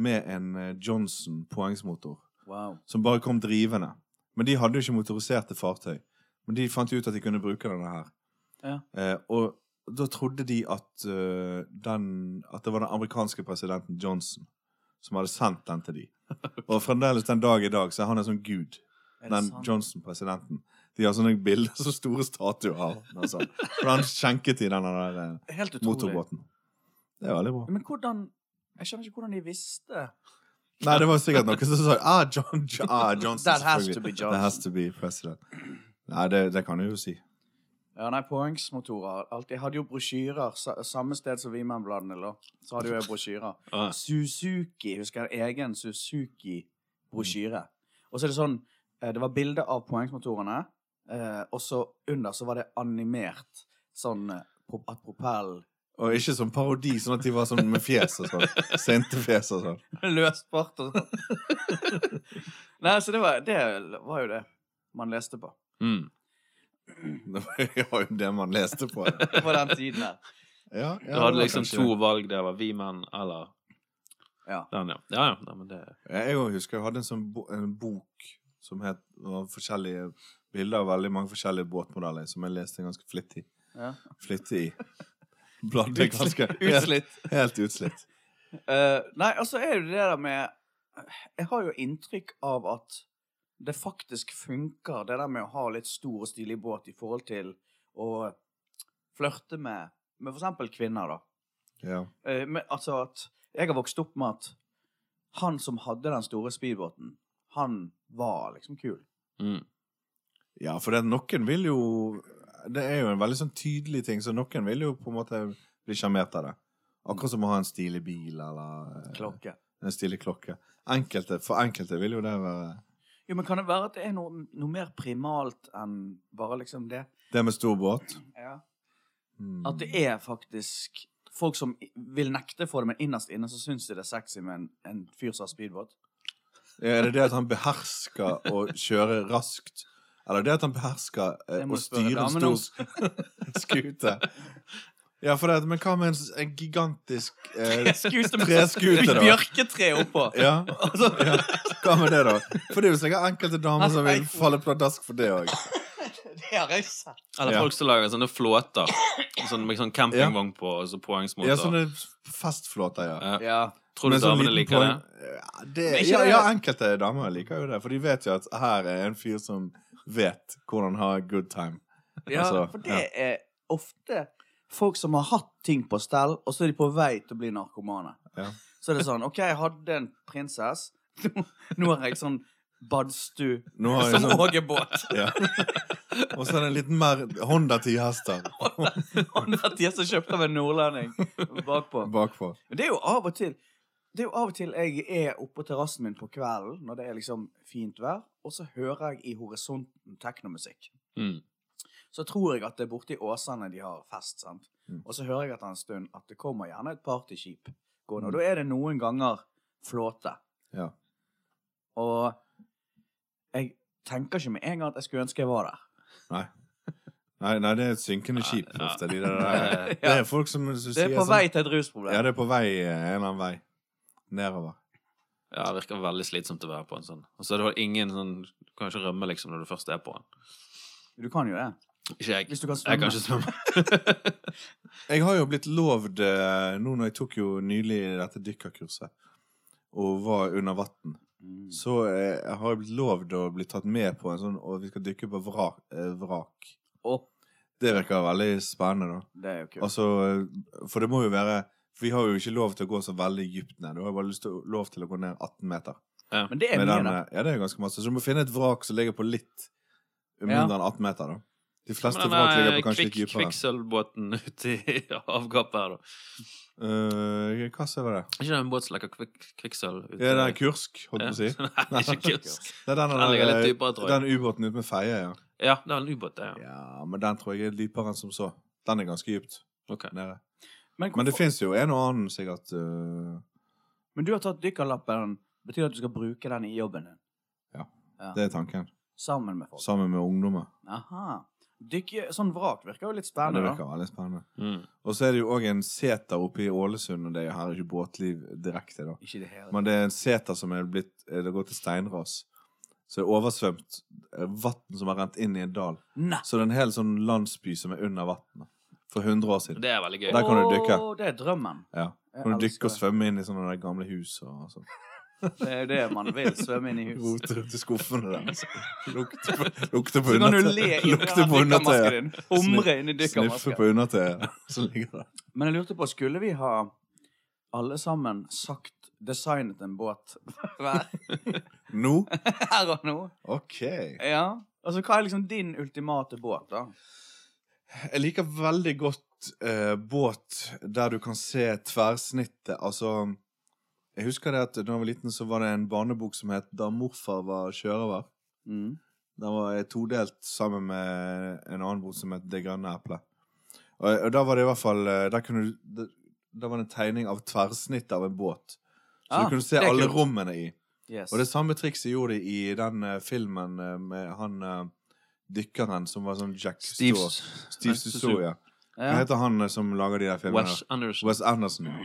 C: med en eh, Johnson poengsmotor
B: Wow.
C: som bare kom drivende. Men de hadde jo ikke motoriserte fartøy. Men de fant jo ut at de kunne bruke denne her.
B: Ja.
C: Eh, og da trodde de at, eh, den, at det var den amerikanske presidenten Johnson som hadde sendt den til de. Og fremdeles den dag i dag så er han en sånn gud.
B: Er det
C: Den
B: sant?
C: Johnson-presidenten. De har sånne bilder, så store statuer av han. Altså. For han skjenket i den der eh,
B: Helt utrolig.
C: motorbåten. Det er veldig bra.
B: Men hvordan Jeg skjønner ikke hvordan de visste.
C: Nei, det var sikkert noen som sa ah, John, John, ah, Johnson.
B: That has
C: selvfølgelig.
B: to be
C: That has
B: Johnson.
C: to be president. Nei, det, det kan jeg jo si.
B: Ja, nei, poengsmotorer. Alt. Jeg hadde jo brosjyrer sa- samme sted som Vimenbladene lå. Så hadde jo jeg brosjyrer.
A: Ah,
B: Suzuki, husker jeg, egen Suzuki-brosjyre. Og så er det sånn, eh, det var bilde av poengsmotorene, eh, og så under så var det animert sånn eh, pro- at propell
C: Og ikke som parodi, sånn at de var sånn med fjes og sånn. Sinte fjes og sånn.
B: løst bort og sånn. Nei, så det var, det var jo det man leste på
A: mm.
C: Det var jo det man leste på.
B: på den tiden her.
C: Ja, ja,
A: Du hadde
C: det var
A: liksom
C: kanskje-
A: to valg. Det var vi-menn eller
B: Ja.
A: den, ja. Ja, ja. Nei, men det
C: Ja, Jeg òg husker jeg hadde en sånn bo en bok som het var forskjellige bilder av veldig mange forskjellige båtmodeller, som jeg leste ganske flittig.
B: Ja.
C: Flittig i. Bladde ganske helt,
B: Utslitt.
C: helt utslitt.
B: Eh, nei, altså er det det der med eh, Jeg har jo inntrykk av at det faktisk funker, det der med å ha litt stor og stilig båt i forhold til å flørte med, med for eksempel kvinner, da.
C: Ja.
B: Eh, men, altså at Jeg har vokst opp med at han som hadde den store speedbåten, han var liksom kul.
A: mm.
C: ja, for det, noen vil jo Det er jo en veldig sånn tydelig ting, så noen vil jo på en måte bli sjarmert av det. Akkurat som å ha en stilig bil eller eh,
B: Klokke.
C: en stilig klokke. Enkelte, for enkelte vil jo det være
B: Jo, men kan det være at det er noe, noe mer primalt enn bare liksom det?
C: Det med stor båt.
B: Ja.
C: Mm.
B: At det er faktisk folk som i- vil nekte for det, men innerst inne så syns de det er sexy med en, en fyr som har speedbåt.
C: Ja, Er det det at han behersker å kjøre raskt? Eller det at han behersker eh,
B: Det må
C: å
B: du spørre
C: styre en
B: damen om.
C: stor s- skute? Ja, for det, at- men hva med en, s- en gigantisk eh,
B: Skute med
C: Treskute, da.
B: bjørketre oppå.
C: ja,
B: Altså,
C: ja, hva med det, da? For det er jo sikkert enkelte damer som vil falle pladask for det òg.
B: Det har jeg sett.
A: Eller
C: Ja.
A: folk som lager sånne flåter. Sånn, med sånn campingvogn på og så poengsmåter.
C: Ja, sånne festflåter, ja.
A: Ja.
B: Ja.
A: Tror du
C: Med sånn
A: damene liker
C: liten
A: det?
C: poeng- Ja, det,
B: Men ikke
C: ja,
B: det-
C: ja, enkelte damer liker jo det. For de vet jo at her er en fyr som vet hvordan ha a good time.
B: ja
C: Altså,
B: for
C: ja.
B: det er ofte folk som har hatt ting på stell, og så er de på vei til å bli narkomane.
C: Ja.
B: Så er det sånn OK, jeg hadde en prinsesse. Nå, nå har jeg sånn badstue
C: Nå har jeg
B: som
C: sånn-
B: òg er båt.
C: Ja. Og så er det en liten mer Honda 10 hester
B: Og Mathias er kjøpt av en nordlending bakpå.
C: bakpå.
B: Men det er jo av og til Det er jo av og til jeg er oppe på terrassen min på kvelden når det er liksom fint vær, og så hører jeg i horisonten teknomusikk.
A: Mm.
B: Så tror jeg at det er borte i Åsane de har fest, sant.
C: Mm.
B: Og så hører jeg etter en stund at det kommer gjerne et partyskip gående.
C: Mm.
B: Og da er det noen ganger flåte.
C: Ja.
B: Og jeg tenker ikke med en gang at jeg skulle ønske jeg var der.
C: Nei. Nei, nei, det er et synkende skip
A: Ja.
C: ofte. De der, der. Det er folk som, som
B: Det er på
C: sånn-
B: vei til et
C: Ja,
B: rusproblem.
C: det er på vei eh, en eller annen vei. Nedover.
A: Ja, det virker veldig slitsomt å være på en sånn. Og så er det vel ingen sånn Du kan ikke rømme liksom når du først er på den.
B: Du kan jo det.
A: Ikke jeg.
B: Hvis du kan
A: Jeg kan
B: svømme.
A: ikke svømme.
C: Jeg har jo blitt lovd eh, Nå når jeg tok jo nylig dette dykkerkurset og var under vann,
B: Mm.
C: så eh, jeg har jeg blitt lovd å bli tatt med på en sånn Og vi skal dykke på vrak. eh, vrak.
B: Og
C: Det virker veldig spennende, da.
B: det er jo kult.
C: Altså, for det må jo være For vi har jo ikke lov til å gå så veldig dypt ned. Du har jo bare lyst til, å- lov til å gå ned 18 meter.
B: Men det er
C: Med
B: mye,
C: den, eh,
B: da.
C: ja, det er ganske masse. Så du må finne et vrak som ligger på litt mindre enn 18 meter, da. De fleste
A: Men
C: vrak ligger
A: den
C: på kanskje
A: kvikk,
C: litt dypere.
A: kvikksølvbåten ute i havgapet her, da.
C: Eh, hva sa det?
A: Er ikke det en båt som leker kvikk, kvikksølv ute
C: Ja, det er Kursk, holdt
A: Ja.
C: jeg på å si.
A: Nei, ikke Kursk.
C: Det er den,
A: Den ligger litt
C: der,
A: dypere, tror jeg.
C: den ubåten ute med feie, ja.
A: Ja, det er en ubåt, det. Ja.
C: Ja, Men den tror jeg er dypere enn som så. Den er ganske dypt
A: Ok.
C: nede.
B: Men,
C: Men det
B: hvorfor-
C: fins jo en og annen, sikkert. eh,
B: men du har tatt dykkerlappen. Betyr det at du skal bruke den i jobben din?
C: det er tanken.
B: Sammen med folk?
C: Sammen med ungdommer.
B: Aha. Dykke, sånn vrak virker jo litt
C: Ja, det
B: spennende.
C: virker veldig spennende.
A: Mm.
C: Og så er det jo òg en seter oppe i Ålesund, og det er jo her ikke båtliv direkte, da.
B: da. Ikke i det hele tatt.
C: Men det er en seter som er blitt eh, Det går til steinras. Så det er oversvømt eh, vann som har rent inn i en dal.
B: Nei!
C: Så det er en hel sånn landsby som er under vannet. For 100 år siden.
A: Det er veldig gøy.
C: Der kan du dykke.
B: Åh, det er drømmen.
C: Ja.
B: Jeg
C: Kan du
B: elsker
C: dykke og
B: det.
C: svømme inn i sånne der gamle hus og sånn.
B: Det er jo det man vil. Svømme inn i hus.
C: Rote rundt i skuffene der. altså. Lukte på, lukte på
B: Så kan du
C: undertøy-
B: le inni
C: lukte på
B: dykkermasken
C: undertøyet.
B: din. Humre inni
C: Sniffe
B: dykkermasken.
C: på undertøyet som ligger der.
B: Men jeg lurte på, skulle vi ha alle sammen sagt designet en båt hver
C: Nå?
B: her og nå.
C: OK. Jeg
B: Ja. Altså, hva er liksom din ultimate båt, da?
C: liker veldig godt eh, båt der du kan se tverrsnittet. Altså Jeg husker det at da jeg var liten, så var det en barnebok som het 'Da morfar var sjørøver'.
B: Mm.
C: Den var todelt sammen med en annen bok som het 'Det grønne eplet'. Og, og da var det i hvert fall eh, Der kunne du da- Da var det en tegning av tverrsnittet av en båt. Så
B: Ah,
C: du kunne se
B: det er
C: alle
B: kult.
C: rommene i.
B: Yes.
C: Og det samme trikset gjorde de i den eh, filmen eh, med han eh, dykkeren som var sånn Jack
A: Steve
C: Straw. Steve Suso, ja. Hva
B: ja.
C: heter han eh, som lager de der filmene?
A: Wes
C: Wes,
A: Anderson.
C: Wes Anderson. ja.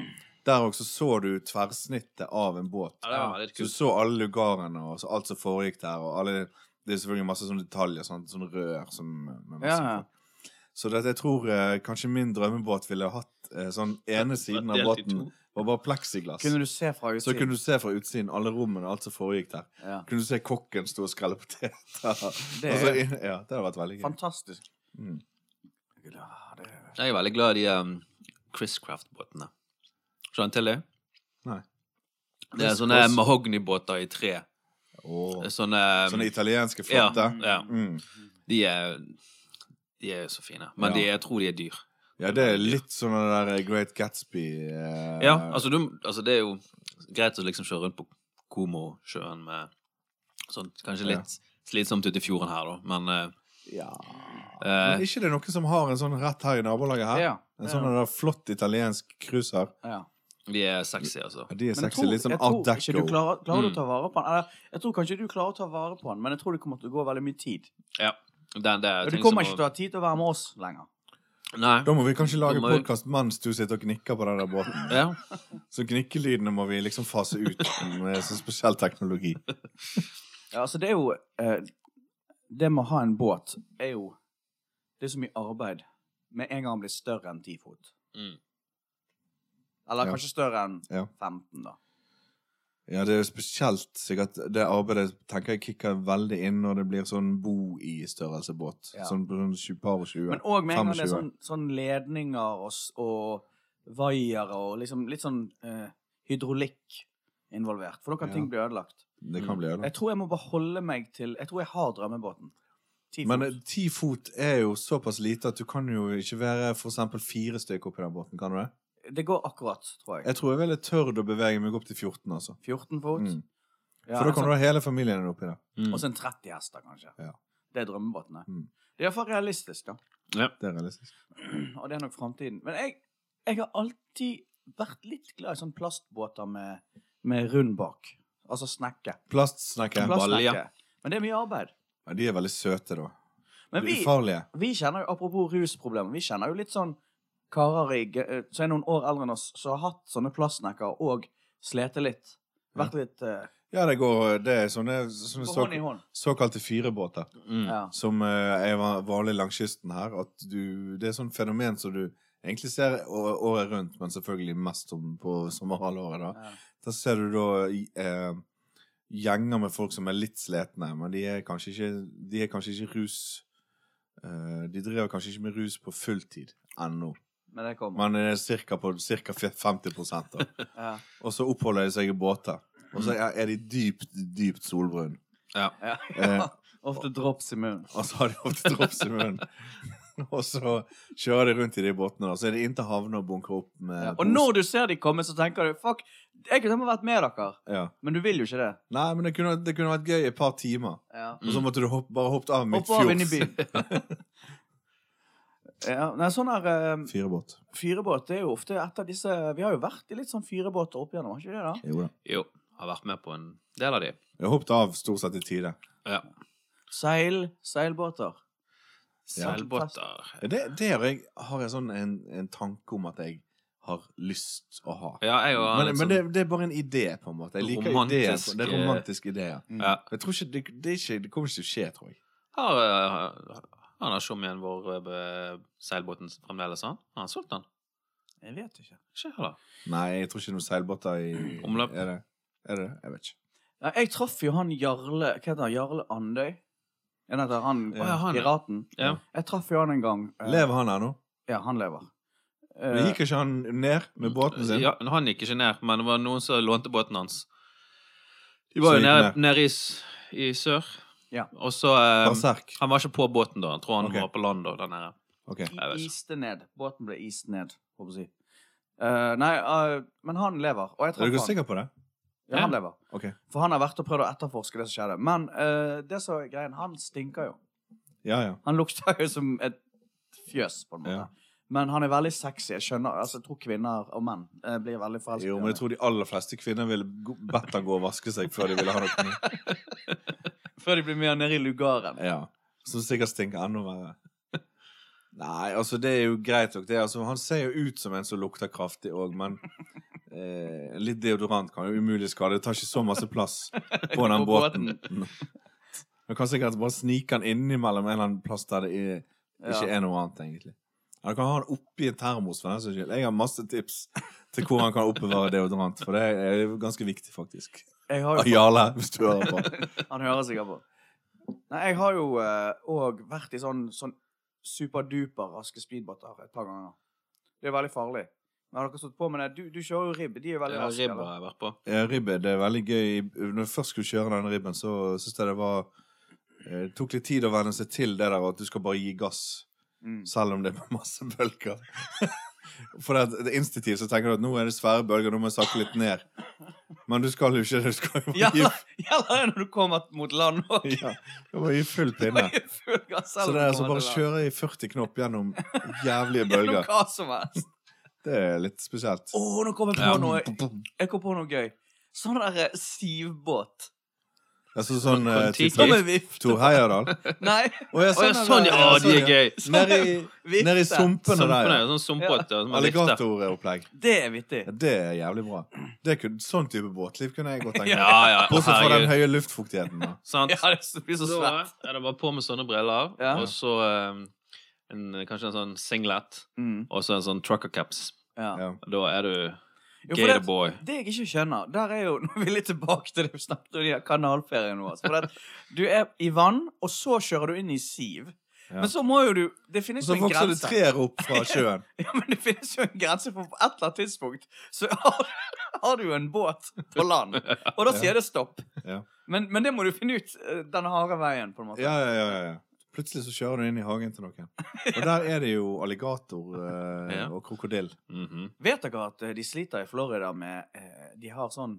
C: Der også så du tverrsnittet av en båt.
A: Ja, det var veldig
C: Så du
A: kult.
C: så alle lugarene og så alt som foregikk der. Og alle, det er selvfølgelig masse sånne detaljer, sånn, sånne rør som eh, med masse
B: Ja, ja.
C: på. Så det, jeg tror eh, kanskje min drømmebåt ville hatt eh, sånn ene siden av
A: Delt i
C: båten
A: to.
C: var bare pleksiglass.
B: Kunne du se fra
C: Så kunne
B: utsiden?
C: du se fra utsiden alle rommene og alt som foregikk der.
B: Ja.
C: Kunne du se kokken stå og skrelle poteter.
B: Det
C: Og så
B: er
C: inn- Altså, ja, det hadde vært veldig gøy.
B: fantastisk.
C: Mm.
B: Ja, det er-
A: Jeg er veldig glad i de um, Chris Craft-båtene. Skjønner du til det?
C: Nei.
A: Det er
C: Chris
A: sånne
C: Cross.
A: mahognybåter i tre.
C: Åh.
A: Sånne, um,
C: Sånne italienske flotte.
A: Ja, ja.
C: Mm.
A: De er De er jo så fine. Men
C: Ja.
A: de, jeg tror de er dyr.
C: ja, det er litt sånn den der Great Gatsby eh,
A: Ja, altså, du, altså det er jo greit å liksom kjøre rundt på Komosjøen med sånn Kanskje
C: Ja.
A: litt slitsomt ute i fjorden her, da, men eh,
C: ja.
A: eh,
C: Men ikke det er noen som har en sånn rett her i nabolaget her?
B: Ja.
C: En sånn der flott italiensk cruiser.
B: ja.
A: de er sexy, altså.
C: Ja, De er
B: Men jeg
C: sexy.
B: tror-
C: Litt sånn
B: jeg
C: Art
B: tror ikke
C: Deco. Mm.
B: du klarer, klarer du å ta vare på den. Eller, jeg tror kanskje du klarer å ta vare på den, men jeg tror det kommer til å gå veldig mye tid.
A: Ja. Den, det er
B: Og
A: ting
B: du kommer
A: som
B: ikke til å ha tid til å være med oss lenger.
A: å- Nei.
C: Da må vi kanskje lage
A: Da må vi-
C: podkast mens du sitter og gnikker på den der båten.
A: Ja.
C: Så gnikkelydene må vi liksom fase ut med sånn spesiell teknologi.
B: Ja, altså, det er jo eh, Det med å ha en båt er jo Det er så mye arbeid med en gang den blir større enn ti fot.
A: Mm.
B: Eller
C: Ja.
B: kanskje større enn
C: Ja.
B: 15, da.
C: Ja, det er spesielt sikkert Det arbeidet tenker jeg kicker veldig inn når det blir sånn bo i størrelse båt.
B: Ja.
C: Sånn på sånn tjue- par og tjue.
B: Men òg med en gang det er
C: 25.
B: sånn, sånn ledninger og, s- og vaiere og liksom litt sånn eh, hydraulikk involvert. For da kan
C: Ja.
B: ting bli ødelagt.
C: Det kan bli
B: Jeg
C: ødelagt.
B: tror jeg må bare holde meg til Jeg tror jeg har drømmebåten. Ti
C: Men eh,
B: fot.
C: ti fot er jo såpass lite at du kan jo ikke være for eksempel fire stykker oppi den båten, kan du det?
B: Det går akkurat, tror jeg.
C: Jeg tror jeg ville tørt å bevege meg opp til 14, altså.
B: 14 fot.
C: Mm.
B: Ja,
C: For da
B: en
C: kan
B: sånn-
C: du ha hele familien din oppi der.
A: Mm.
B: Og så en 30 hester, kanskje.
C: Ja.
B: Det er drømmebåtene.
C: Mm.
B: Det er iallfall realistisk, da.
C: Det er realistisk.
B: Og det er nok framtiden. Men jeg, jeg har alltid vært litt glad i sånne plastbåter med, med rund bak. Altså snekke.
C: Plastsnekker.
A: Plast-
B: Plastsnekke.
A: balje.
B: Men det er mye arbeid.
C: Ja, de er veldig søte, da.
B: Men
C: De
B: vi,
C: er ufarlige.
B: vi kjenner jo, apropos rusproblemer, vi kjenner jo litt sånn karer i, g- eh, som er noen år eldre enn oss, som har hatt sånne plastsnekker og slete litt. Vært litt eh,
C: Ja, det går Det er sånne, sånne
B: på
C: så,
B: hånd i hånd.
C: såkalte fyrebåter.
A: Mm.
B: Ja.
C: som eh, er va- vanlig langs kysten her, at du, det er sånn fenomen som du egentlig ser å- året rundt, men selvfølgelig mest om, på sommerhalvåret. Da.
B: Ja.
C: da ser du da i- eh, gjenger med folk som er litt sletne, men de er kanskje ikke, de er kanskje ikke rus eh, De driver kanskje ikke med rus på fulltid ennå,
B: Men det kommer.
C: men det er ca. på cirka fe- 50 da.
B: Ja.
C: Og så oppholder de seg i båter. Og så er er de dypt, dypt solbrune.
B: Ja.
C: Eh,
B: Ofte drops i munnen.
C: og så har de ofte drops i munnen. og så kjører de rundt i de båtene, og så er de inn til havna og bunker opp med
B: Og når du ser de komme, så tenker du Fuck, jeg kunne vært med dere.
C: ja.
B: Men du vil jo ikke det.
C: Nei, men det kunne, det kunne vært gøy i et par timer.
B: Ja.
C: Og så måtte du hopp, bare hoppet av
B: Hoppe av inn i
C: midtfjords.
B: byen. ja, nei, sånn her eh,
C: Firebåt.
B: fyrebåt det er jo ofte et av disse Vi har jo vært i litt sånn fyrebåter opp igjennom, har ikke vi det? da?
C: Jo da.
A: Jo. Har vært med på en del av de.
C: Jeg hoppet av stort sett i tide.
A: Ja.
B: Seil, seilbåter. Ja.
A: Seilbåter.
C: Det, det har jeg har jeg sånn en, en tanke om at jeg har lyst å ha.
A: Ja, jeg og han
C: Men,
A: litt
C: men
A: sånn-
C: det, det er bare en idé, på en måte. Jeg liker ideen.
A: Romantisk,
C: Det er
A: eh,
C: romantisk idé. ja.
A: ja.
C: Jeg tror ikke, det, det, er ikke, det kommer ikke til å skje, tror jeg.
A: Har, eh, han har sjomien vår eh, seilbåten fremdeles, han? Har han solgt den?
B: Jeg vet ikke.
A: Ikke heller.
C: Nei, jeg tror ikke noen seilbåter i
A: Omløp.
C: Er det er det? det? Jeg vet ikke.
B: Nei, jeg traff jo han Jarle Hva heter han? Jarle Andøy? En heter han,
C: Å, ja,
A: han, ja.
B: piraten.
A: Ja.
B: Jeg traff jo han en gang. eh,
C: Lever han her nå?
B: Ja, han lever.
C: Men gikk ikke han ned med båten sin?
A: Ja, han gikk ikke ned, men det var noen som lånte båten hans. De var
C: Så
A: jo
C: gikk
A: nede,
C: ned.
A: nede i, s- i sør.
B: Ja.
A: Og så eh,
C: Berserk.
A: Han var ikke på båten da. Han tror han
C: Ok.
A: var på land da. Den her.
C: Ok.
A: Jeg vet ikke.
B: Eh, Iste ned. Båten ble ist ned, håper jeg å si. Eh, nei, eh, men han lever. Og jeg
C: Er
B: traff
C: dere
B: han.
C: sikre på det?
B: Ja, han lever.
C: Ok.
B: For han har vært og prøvd å etterforske det som skjedde. Men eh, det som er greien, han stinker jo.
C: Ja, ja.
B: Han lukter jo som et fjøs, på en måte.
C: Ja.
B: Men han er veldig sexy. Jeg skjønner, altså, jeg tror kvinner og menn eh, blir veldig forelsket. i
C: Jo, men
B: ham.
C: jeg tror de aller fleste kvinner ville gå- bedt han gå og vaske seg før de ville ha noe nytt.
B: Før de blir mer nede i lugaren.
C: Ja. Som sikkert stinker enda verre. Nei, altså, det er jo greit nok, det. Altså, han ser jo ut som en som lukter kraftig òg, men eh, litt deodorant kan jo umulig skade. Det tar ikke så masse plass på den
B: På båten.
C: båten. Man kan sikkert bare snike han innimellom en eller annen plass der det er, ikke
B: Ja.
C: er noe annet, egentlig. Eller kan ha han oppi en termos. For den saks skyld. Jeg har masse tips til hvor han kan oppbevare deodorant, for det er ganske viktig, faktisk.
B: Jeg har jo,
C: Jarle, hvis du hører på.
B: han hører sikkert på. Nei, jeg har jo òg vært i sånn, sånn superduper raske speedbåter et par ganger. Det er veldig farlig. Men har dere stått på med det? Du, du kjører jo ribb. De er jo veldig
A: Ja,
B: raske.
A: Ribba
B: eller?
A: har jeg vært på.
C: Ja, Eh, ribbe, det er veldig gøy. Når jeg først skulle kjøre denne ribben, så syns jeg det var eh, Det tok litt tid å venne seg til det der at du skal bare gi gass,
B: Mm.
C: selv om det er masse bølger. For det, er- det er instinktivt så tenker du at nå er det svære bølger, nå må jeg sakke litt ned. Men du skal jo ikke det. Du skal jo
B: Ja,
C: bare gi
B: Gjelder det når du kommer mot land òg?
C: Ja, det var i full pinne. Så det er altså bare å kjøre i 40 knop gjennom jævlige
B: Gjennom
C: bølger.
B: hva som helst.
C: Det er litt spesielt.
B: Å, nå kom jeg på
A: Ja.
B: noe. Jeg kom på noe gøy. Sånn derre sivbåt.
C: Altså sånn eh,
A: Kon-Tiki.
C: type
B: Som en vifte.
C: Tor Heyerdahl.
B: Nei,
C: Å ja,
A: Å ja, sånn, ja!
C: ja,
A: De er
C: sånn, ja.
A: gøy.
C: Nede i,
B: vifte.
C: nede i sumpene der.
A: Sumpene,
C: ja.
A: sånn sumpete. som man vifter.
C: Alligatoropplegg.
B: Det er vittig.
C: Ja, det er jævlig bra. Det kunne, sånn type båtliv kunne jeg godt tenke
A: Ja,
C: meg.
A: ja.
C: Bortsett fra den
A: Herregud.
C: høye luftfuktigheten. da.
A: Sant?
B: Ja, det blir så
A: Så
B: svært.
A: er det bare på med sånne briller,
B: Ja.
A: og så eh, en, kanskje en sånn singlet,
B: Mm,
A: og så en sånn trucker caps.
B: ja.
C: Ja.
A: Da er du
B: Jo, for
A: gator
B: det,
A: boy.
B: det jeg ikke skjønner, der er jo Nå er vi litt tilbake til det vi snakket om i kanalferien vår. For at du er i vann, og så kjører du inn i siv.
C: Ja.
B: Men så må jo du Det finnes
C: Så
B: jo en
C: vokser det
B: grense.
C: trær opp fra sjøen.
B: Ja, men det finnes jo en grense for på et eller annet tidspunkt så har, har du jo en båt på land, og da sier det stopp.
C: Ja.
B: Men, men det må du finne ut eh, den harde veien, på en måte.
C: Ja, ja, ja, ja, ja. Plutselig så kjører du inn i hagen til noen. Og der er det jo alligator eh,
A: Ja.
C: og krokodille.
A: Mhm.
B: Vet dere at eh, de sliter i Florida med eh, De har sånn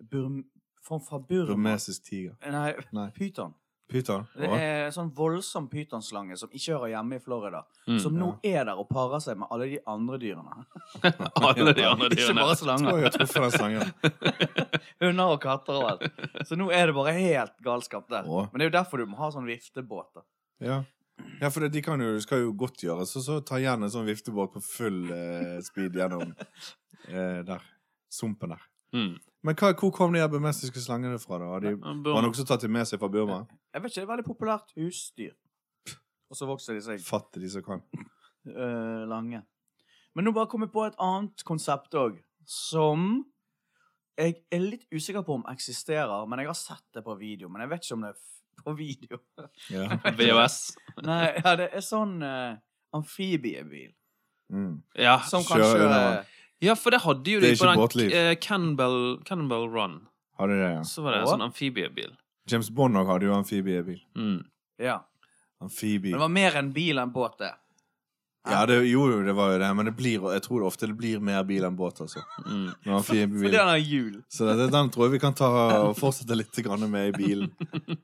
B: Burm... Form fra Burma
C: Burmesisk tiger.
B: Nei,
C: Nei.
B: pyton.
C: Pyton?
B: Det er en sånn voldsom pytonslange som ikke hører hjemme i Florida,
A: Mm.
B: som nå er der og parer seg med alle de andre dyrene.
A: Alle de andre
B: Ikke
A: dyrene.
B: bare
C: Jeg
B: slanger.
C: tror jeg har truffet den slangen.
B: Hunder og katter og alt. Så nå er det bare helt galskap der.
C: Åh.
B: Men det er jo derfor du må ha sånn viftebåter.
C: Ja. Ja, for det, de kan jo, det skal jo godt gjøres å så ta igjen en sånn viftebåt på full eh, speed gjennom eh, der. Sumpen der.
A: Mm.
C: Men hva, hvor kom de her bemestiske slangene fra, da? Har de, har han også tatt dem med seg fra Burma?
B: Jeg vet ikke, det er veldig populært husdyr. Og så vokser de seg
C: Fatt de som kan.
B: øh, lange. Men nå bare kom jeg på et annet konsept òg, som jeg er litt usikker på om eksisterer, men jeg har sett det på video. Men jeg vet ikke om det er f- på video.
C: Ja.
A: VHS.
B: Nei, ja, det er sånn øh, amfibiebil
C: Mm.
A: Ja.
B: som kan
C: Kjører
B: kjøre
C: under
A: ja, for det hadde jo
C: Det er
A: de
C: ikke
A: på
C: båtliv.
A: den eh, Cannonball, Cannonball Run.
C: Har de det, ja.
A: Så var det en
B: Hva?
A: sånn amfibiebil.
C: James Bond òg hadde jo amfibiebil.
A: Mm.
B: Ja.
C: Amfibi.
B: Men det var mer enn bil enn båt, det.
C: Ja, det, jo, jo, det var jo det, men det blir, jeg tror det ofte det blir mer bil enn båt, altså.
A: Mm.
C: Med amfibiebil.
B: Fordi den har hjul.
C: Så det, den tror jeg vi kan ta og fortsette litt grann med i bilen.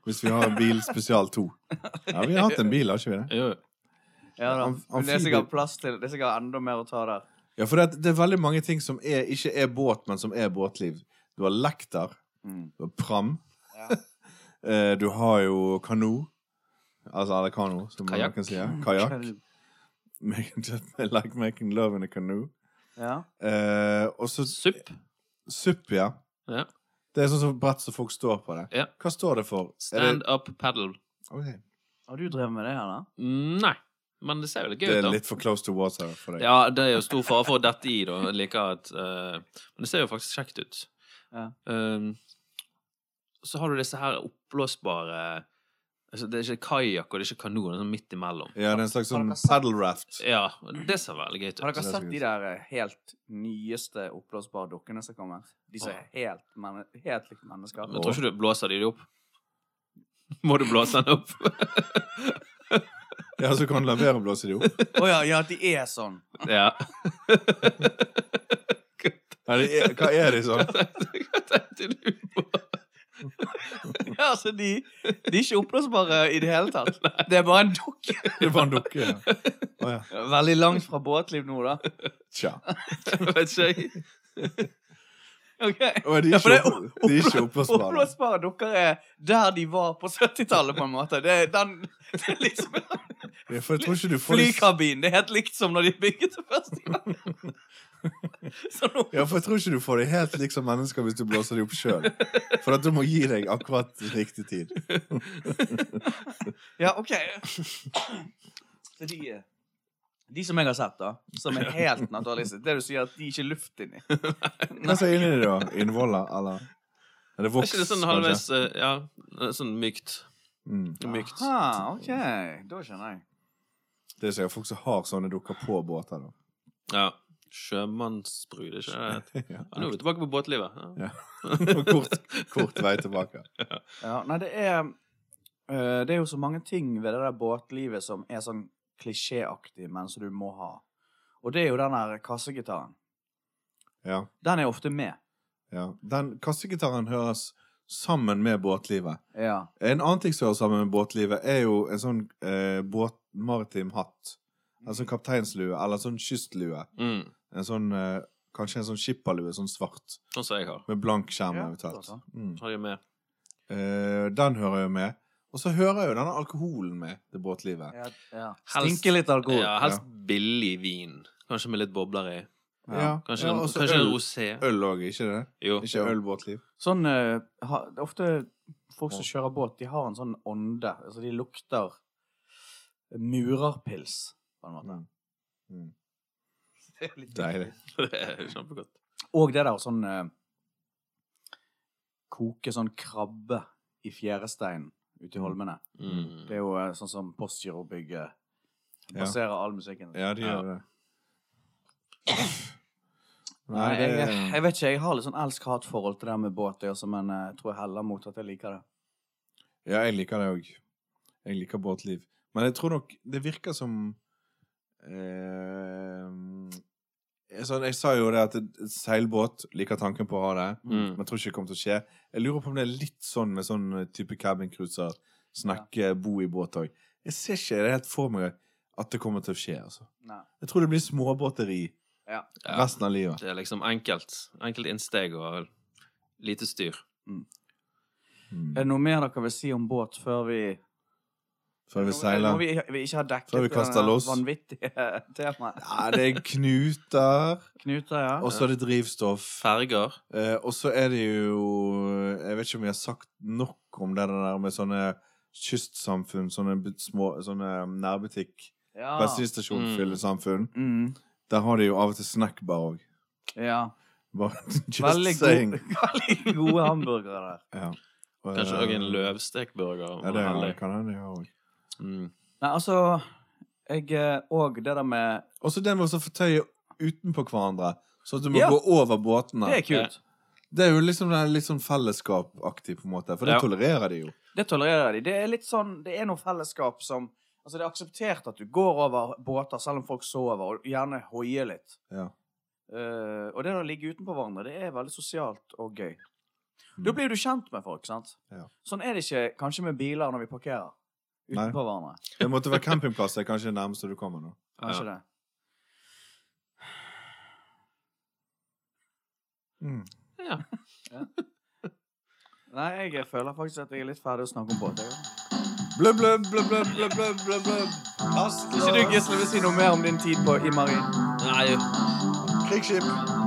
C: Hvis vi har en bil spesial 2. Ja, vi har hatt en bil, har ikke vi det?
A: Jo.
B: Ja, da. Men
C: Am-
B: Det er
C: amfibie-
B: sikkert plass til Det er sikkert enda mer å ta der.
C: Ja, for det, det er veldig mange ting som er, ikke er båt, men som er båtliv. Du har lekter,
B: Mm.
C: du har pram,
B: Ja.
C: eh, du har jo kano. Altså eller kano, som
A: Kajak.
C: man kan si. Kajakk.
B: Mm.
C: like making love in a canoe.
B: Ja.
C: Eh, og så
A: Supp.
C: SUP, ja.
A: Ja.
C: Det er sånn som brett som folk står på det.
A: Ja.
C: Hva står det for? Er
A: Stand up paddle.
C: det, Ok.
B: Har du drevet med det, Hanna?
A: Nei, men det ser jo litt
C: det
A: gøy ut,
C: er
A: da.
C: litt for close to water for deg.
A: Ja, det er jo stor fare for å dette i, da. Jeg liker at eh, Men det ser jo faktisk kjekt ut. Ehm,
B: Ja.
A: Um, så har du disse her oppblåsbare altså, Det er ikke kajakk og det er ikke kano. Det er sånn midt imellom.
C: Ja, det er en slags
B: Har
C: sånn
B: dere sett-
C: paddle raft.
A: Ja, det ser veldig gøy ut.
B: Har dere
C: Så det er
B: sett
C: så
B: de der eh, helt nyeste oppblåsbare dukkene som kommer? De som er helt, menne, helt likt mennesker.
A: Men tror ikke du blåser de de opp? Må du blåse den opp?
C: Ja, så kan du la være å blåse de opp.
B: Å ja, ja, de er sånn.
A: ja.
C: Nei, det er, hva er de sånn?
A: Hva tenkte du på?
B: Ja, altså, de, de er ikke oppblåsbare i det hele tatt. Det er bare en dukke.
C: Det var en dukke. Ja. Å ja.
B: Veldig langt fra båtliv nå, da.
C: Tja.
A: Jeg vet ikke jeg.
B: Ok.
C: Å, de
B: Ja,
C: er
B: for det er
C: ikke, opp- de er ikke oppblåsbare.
B: Oppblåsbare dukker er der de var på 70-tallet, på en måte. Det er, den, det er liksom
C: Ja, For jeg tror ikke du får de,
B: Flykabinen. Det er helt likt som når de bygget det første gang. Så nå
C: ja, for jeg tror ikke du får de helt lik som mennesker hvis du blåser de opp sjøl. For at du må gi deg akkurat riktig tid.
B: Ja, OK. Så de, eh, de som jeg har sett, da, som er helt naturalistisk Det du sier, at de ikke er luft inni.
C: Hva sier inni det, da? Innvoller, eller? Er det
A: Er
C: voks?
A: ikke det sånn
C: kanskje?
A: halvveis eh, Ja, sånn mykt.
C: Mm.
A: Mykt.
B: Ah, OK. Da skjønner jeg.
C: Det er sikkert folk som har sånne dukker på båter, da.
A: Ja. Sjømannsbrud, er ikke det?
C: Ja.
A: Ja, nå er vi tilbake på båtlivet. Ja.
C: Og kort, kort vei tilbake.
B: Ja, nei, det er eh, Det er jo så mange ting ved det der båtlivet som er sånn klisjéaktig, men som du må ha. Og det er jo den der kassegitaren.
C: Ja,
B: Den er ofte med.
C: ja. Den kassegitaren høres sammen med båtlivet.
B: Ja.
C: En annen ting som hører sammen med båtlivet, er jo en sånn eh, båt, maritim hatt. En
B: Mhm.
C: sånn kapteinslue, eller sånn kystlue.
A: Mm.
C: En sånn, eh, kanskje en sånn skipperlue, sånn svart,
A: Sånn som jeg har.
C: med blank skjerm
B: Ja,
C: eventuelt.
B: klart
C: Mm.
A: Har jeg med.
C: Eh, den hører jo med. Og så hører jo denne alkoholen med til båtlivet.
B: ja, ja.
A: Helst-
B: Stinker litt alkohol.
A: Ja, helst billig vin. Kanskje med litt bobler i.
B: Ja.
A: Kanskje,
C: ja,
A: en,
C: og så
A: kanskje en
C: øl.
A: rosé.
C: Øl òg, ikke det?
A: Jo.
C: Ikke ølbåtliv.
B: Sånn eh, ha, det er Ofte folk som kjører båt, de har en sånn ånde. Altså, de lukter murerpils, på en måte.
C: Mm.
B: Det er litt-
C: Deilig.
A: Det er kjempegodt.
B: Og det der sånn eh, Koke sånn krabbe i fjæresteinen ute i holmene.
A: Mm.
B: Det er jo eh, sånn som Postgirobygget
C: Ja.
B: baserer all musikken.
C: Ja, de
A: Ja.
C: gjør det.
B: Nei,
C: Nei,
B: jeg,
C: det
B: jeg vet ikke, jeg har litt sånn elsk-hat-forhold til det med båt, jeg også, men eh, jeg tror jeg heller mot at jeg liker det.
C: Ja, jeg liker det òg. Jeg liker båtliv. Men jeg tror nok det virker som eh, jeg, sånn, jeg sa jo det at et seilbåt liker tanken på å ha det,
A: Mm.
C: men jeg tror ikke det kommer til å skje. Jeg lurer på om det er litt sånn med sånn type cabincruiser, snakke, bo i båt òg. Jeg ser ikke det helt for meg at det kommer til å skje, altså.
B: Nei.
C: Jeg tror det blir småbåteri
B: Ja.
A: Ja.
C: resten av livet.
A: Det er liksom enkelt. Enkelt innsteg og lite styr.
C: Mm.
B: Er det noe mer dere vil si om båt før vi
C: Før vi
B: Når
C: seiler.
B: vi, vi ikke har dekket
C: Før vi
B: det
C: kaster
B: denne
C: loss.
B: vanvittige temaet.
C: Ja, det er knuter,
B: Knuter, ja.
C: og så er det drivstoff.
A: Ferger.
C: Eh, og så er det jo Jeg vet ikke om vi har sagt nok om det der med sånne kystsamfunn, sånne bu- små sånne um, nærbutikk,
B: ja.
C: bensinstasjonfyllesamfunn.
B: Mm,
C: Der har de jo av og til snackbar òg.
B: ja.
C: Just
B: Veldig,
C: saying.
B: gode- veldig gode hamburgere der.
C: Ja. Og,
A: Kanskje òg en
C: eh,
A: løvstekburger.
C: Ja,
A: om
C: det
A: man er
C: er,
A: heldig.
C: kan hende de har òg.
A: Mm.
B: Nei, altså Jeg òg det der med
C: Og så den med å fortøye utenpå hverandre, sånn at du må
B: Ja.
C: gå over båtene.
B: Det er kult.
C: Det er jo liksom det er litt sånn fellesskapaktig, på en måte. For det
A: Ja.
C: tolererer de jo.
B: Det tolererer de. Det er litt sånn Det er noe fellesskap som Altså, det er akseptert at du går over båter selv om folk sover, og gjerne hoier litt.
C: Ja.
B: Eh, og det å ligge utenpå hverandre, det er veldig sosialt og gøy.
C: Mm.
B: Da blir du kjent med folk, sant?
C: Ja.
B: Sånn er det ikke kanskje med biler når vi parkerer
C: Nei.
B: utenpå hverandre.
C: Det måtte være campingplasser, kanskje det nærmeste du kommer nå.
B: Kanskje det.
C: Mm.
A: Ja.
B: Nei, jeg føler faktisk at jeg er litt ferdig å snakke om båt. jeg.
C: Blubb, blubb, blubb, blubb, blubb, blubb, blubb, blubb. Astløs.
B: Ikke du, Gisle, vil si noe mer om din tid på Imarin?
A: Nei,
C: Krigsskip.